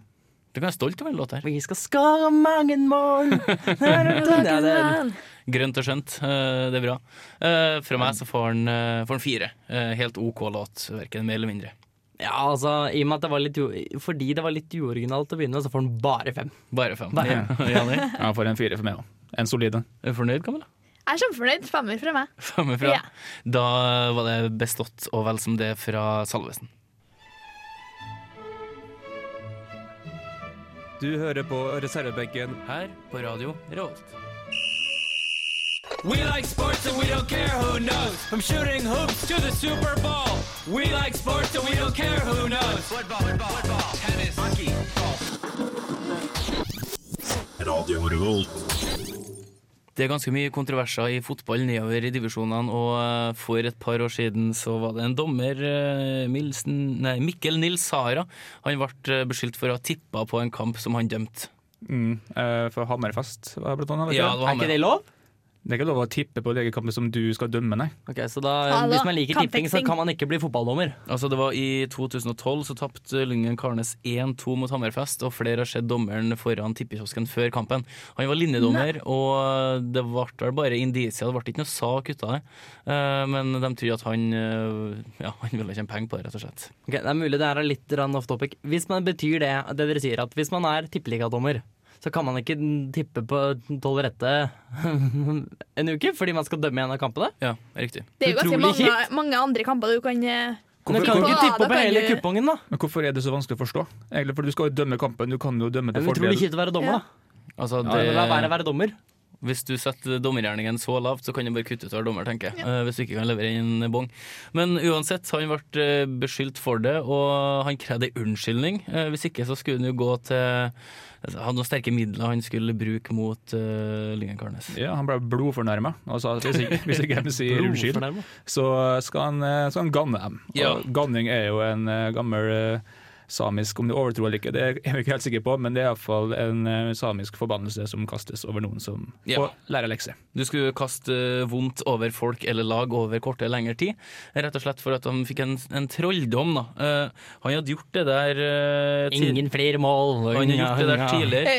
Speaker 5: Du kan være stolt over en låt her.
Speaker 3: Vi skal skåre mange mål! Ja, det er-
Speaker 5: Grønt og skjønt, eh, det er bra. Eh, Fra
Speaker 3: Mm.
Speaker 5: meg så får han, eh, får han fire. Eh, Helt OK låt, verken mer eller mindre.
Speaker 3: ja, altså, i og med at det var litt, u- fordi det var litt uoriginalt til å begynne, så får den bare fem.
Speaker 5: Bare fem.
Speaker 3: Bare fem.
Speaker 5: Ja, Janni?
Speaker 7: Ja, for en fire for meg òg. En solid en.
Speaker 5: Er du fornøyd, Kamilla?
Speaker 6: Jeg er kjempefornøyd. Femmer fra meg.
Speaker 5: Fem ifra.
Speaker 6: Ja.
Speaker 5: Da var det bestått og vel som det fra Salvesen.
Speaker 4: Du hører på reservebenken
Speaker 5: her på radio Revolt.
Speaker 15: We like sports and we don't care who knows. From shooting hoops to the Super Bowl. We like sports and we don't care who knows. Football, football, football, tennis, hockey,
Speaker 16: Radio Revolt.
Speaker 5: Det er ganske mye kontroverser i fotball nedover i divisjonene, og eh, for et par år siden så var det en dommer, eh, Milsen, nei, Mikkel Nils Sara, han ble eh, beskyldt for å ha tippa på en kamp som han dømte.
Speaker 7: Mm, eh, for Hammerfest, var det blant annet. vet
Speaker 5: Ja, det
Speaker 7: du?
Speaker 5: var Er ikke Hammer. det
Speaker 3: lov?
Speaker 7: Det er ikke lov å tippe på legekampen som du skal dømme, nei.
Speaker 3: Ok, Så da,
Speaker 5: Hallo,
Speaker 3: hvis man liker tipping, så
Speaker 5: kampfiksing.
Speaker 3: kan man ikke bli fotballdommer.
Speaker 5: Altså det var I 2012 så tapte Lyngen Karnes 1-2 mot Hammerfest, og flere har sett dommeren foran tippekiosken før kampen. Han var linjedommer, og eh, det ble vel bare indisier, det ble ikke noe sak ut av det. Eh, Men de tror at han eh, Ja, han ville tjene penger på det, rett og slett.
Speaker 3: Ok, Det er mulig det her er litt rann off topic. Hvis man betyr det, det dere sier, at hvis man er tippeligadommer, så kan man ikke tippe på tolv rette en uke fordi man skal dømme en av kampene?
Speaker 5: Ja, riktig.
Speaker 6: Det er jo ganske
Speaker 3: Utrolig
Speaker 6: mange,
Speaker 3: kjipt.
Speaker 6: mange andre kamper du kan eh,
Speaker 3: Men du kan jo ikke tippe på hele kupongen, da.
Speaker 7: Men hvorfor er det så vanskelig å forstå? Egentlig, for Du skal jo dømme kampen. Du kan jo dømme til
Speaker 3: Men tror det er kjipt å være dommer, da?
Speaker 5: Altså,
Speaker 3: Ja, men la være å være dommer.
Speaker 5: Hvis du setter dommergjerningen så lavt, så kan du bare kutte ut å være dommer, tenker jeg. Eh, Hvis du ikke kan levere inn bong. Men uansett, han ble eh, beskyldt for det, og han krevde ei unnskyldning. Eh, Hvis ikke så skulle han jo gå til altså, Han hadde noen sterke midler han skulle bruke mot uh, Lyngen Karnes.
Speaker 7: Ja, han ble blodfornærma. Altså, hvis ikke, hvis ikke de sier unnskyld,
Speaker 5: Blodfornærmet?
Speaker 7: så skal han, eh, skal han ganne dem. Og
Speaker 5: Ja.
Speaker 7: Ganning er jo en eh, gammel eh, samisk, om du overtro eller ikke, det er jeg ikke helt sikker på, men det er iallfall en eh, samisk forbannelse som kastes over noen som
Speaker 5: Ja.
Speaker 7: får lære lekser.
Speaker 5: Du skulle kaste eh, vondt over folk eller lag over kortere eller lengre tid. Rett og slett for at han fikk en, en trolldom. da. Eh, han hadde gjort det der eh, tid-
Speaker 3: Ingen flere mål.
Speaker 5: Han har gjort det der
Speaker 3: Ja.
Speaker 5: tidligere.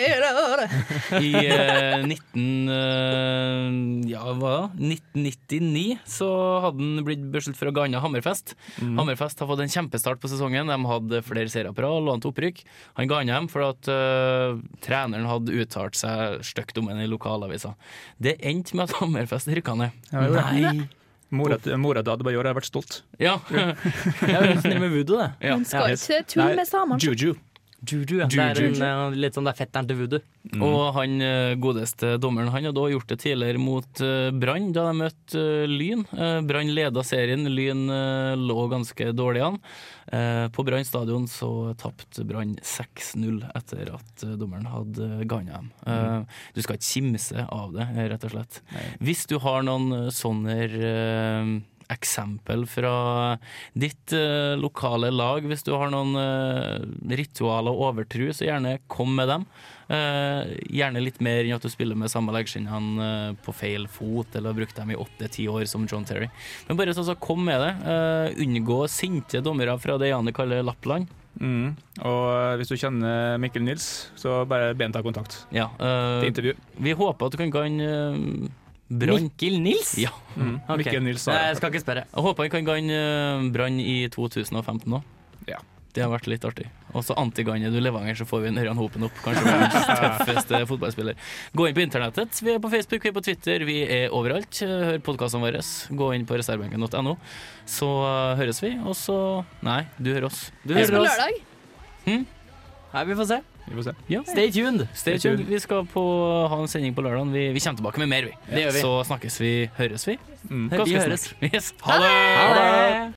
Speaker 5: I eh, 19, eh, ja, hva da? 1999 så hadde han blitt beskyldt for å ganne Hammerfest.
Speaker 3: Mm.
Speaker 5: Hammerfest har fått en kjempestart på sesongen. De hadde flere seire på rad, lå an til opprykk. Han ganna dem fordi at eh, treneren hadde uttalt seg stygt om ham i lokalavisa. Det endte med at Hammerfest rykka ned.
Speaker 7: Ja, jo, ja. Mora til mora til Adebayor hadde vært stolt.
Speaker 5: Ja.
Speaker 3: Det er jo litt snill med voodoo, det.
Speaker 7: Ja.
Speaker 6: Men skal ikke tulle med samene.
Speaker 7: Juju.
Speaker 3: Juju, ja. Det er
Speaker 5: Juju.
Speaker 3: en, eh, litt sånn det er fetteren til voodoo.
Speaker 7: Mm.
Speaker 5: Og han eh, godeste dommeren han hadde også gjort det tidligere mot eh, Brann, da de møtte eh, Lyn. Eh, Brann leda serien, Lyn eh, lå ganske dårlig an. Eh, På Brann stadion så tapte Brann 6-0 etter at eh, dommeren hadde ganna dem. Eh, Du skal ikke kimse av det, eh, rett og slett. Hvis du har noen eh, sånne eh, eksempel fra ditt eh, lokale lag. Hvis du har noen eh, ritualer og overtro, så gjerne kom med dem. Eh, gjerne litt mer enn at du spiller med samme leggskinnene eh, på feil fot, eller har brukt dem i åtte-ti år som John Terry. Men bare sånn, så kom med det. Eh, unngå sinte dommere fra det Janne kaller Lappland.
Speaker 7: Mm. Og eh, hvis du kjenner Mikkel Nils, så bare be ham ta kontakt.
Speaker 5: Ja, eh,
Speaker 7: Til intervju.
Speaker 5: vi håper at du kan ganne eh, Brann.
Speaker 3: Mikkel Nils?
Speaker 5: Ja.
Speaker 7: Mm.
Speaker 5: Ok.
Speaker 7: Mikkel Nils
Speaker 3: Nei,
Speaker 7: Sara.
Speaker 3: jeg skal ikke spørre.
Speaker 5: Jeg håper han kan ganne eh, Brann i 2015 òg.
Speaker 7: Ja.
Speaker 5: Det har vært litt artig. Og så antiganner du Levanger, så får vi en Ørjan Hopen opp. Kanskje verdens tøffeste fotballspiller. Gå inn på internettet. Vi er på Facebook, vi er på Twitter, vi er overalt. Eh, Hør podkastene våre. Gå inn på reservebenken.no, så eh, høres vi. Og så Nei, du hører oss.
Speaker 3: Du
Speaker 6: Høres
Speaker 3: hører
Speaker 6: på
Speaker 3: oss.
Speaker 6: lørdag.
Speaker 3: Nei, vi får se.
Speaker 7: Vi får se.
Speaker 5: Ja.
Speaker 3: Stay tuned.
Speaker 5: Stay tuned. Vi skal på, ha en sending på lørdag. Vi, vi kommer tilbake med mer, vi.
Speaker 3: Det gjør vi.
Speaker 7: Mm.
Speaker 5: Så snakkes vi. Høres vi?
Speaker 3: Vi
Speaker 5: Ganske
Speaker 3: høres.
Speaker 5: snart. Yes. Ha det!
Speaker 3: Ha det!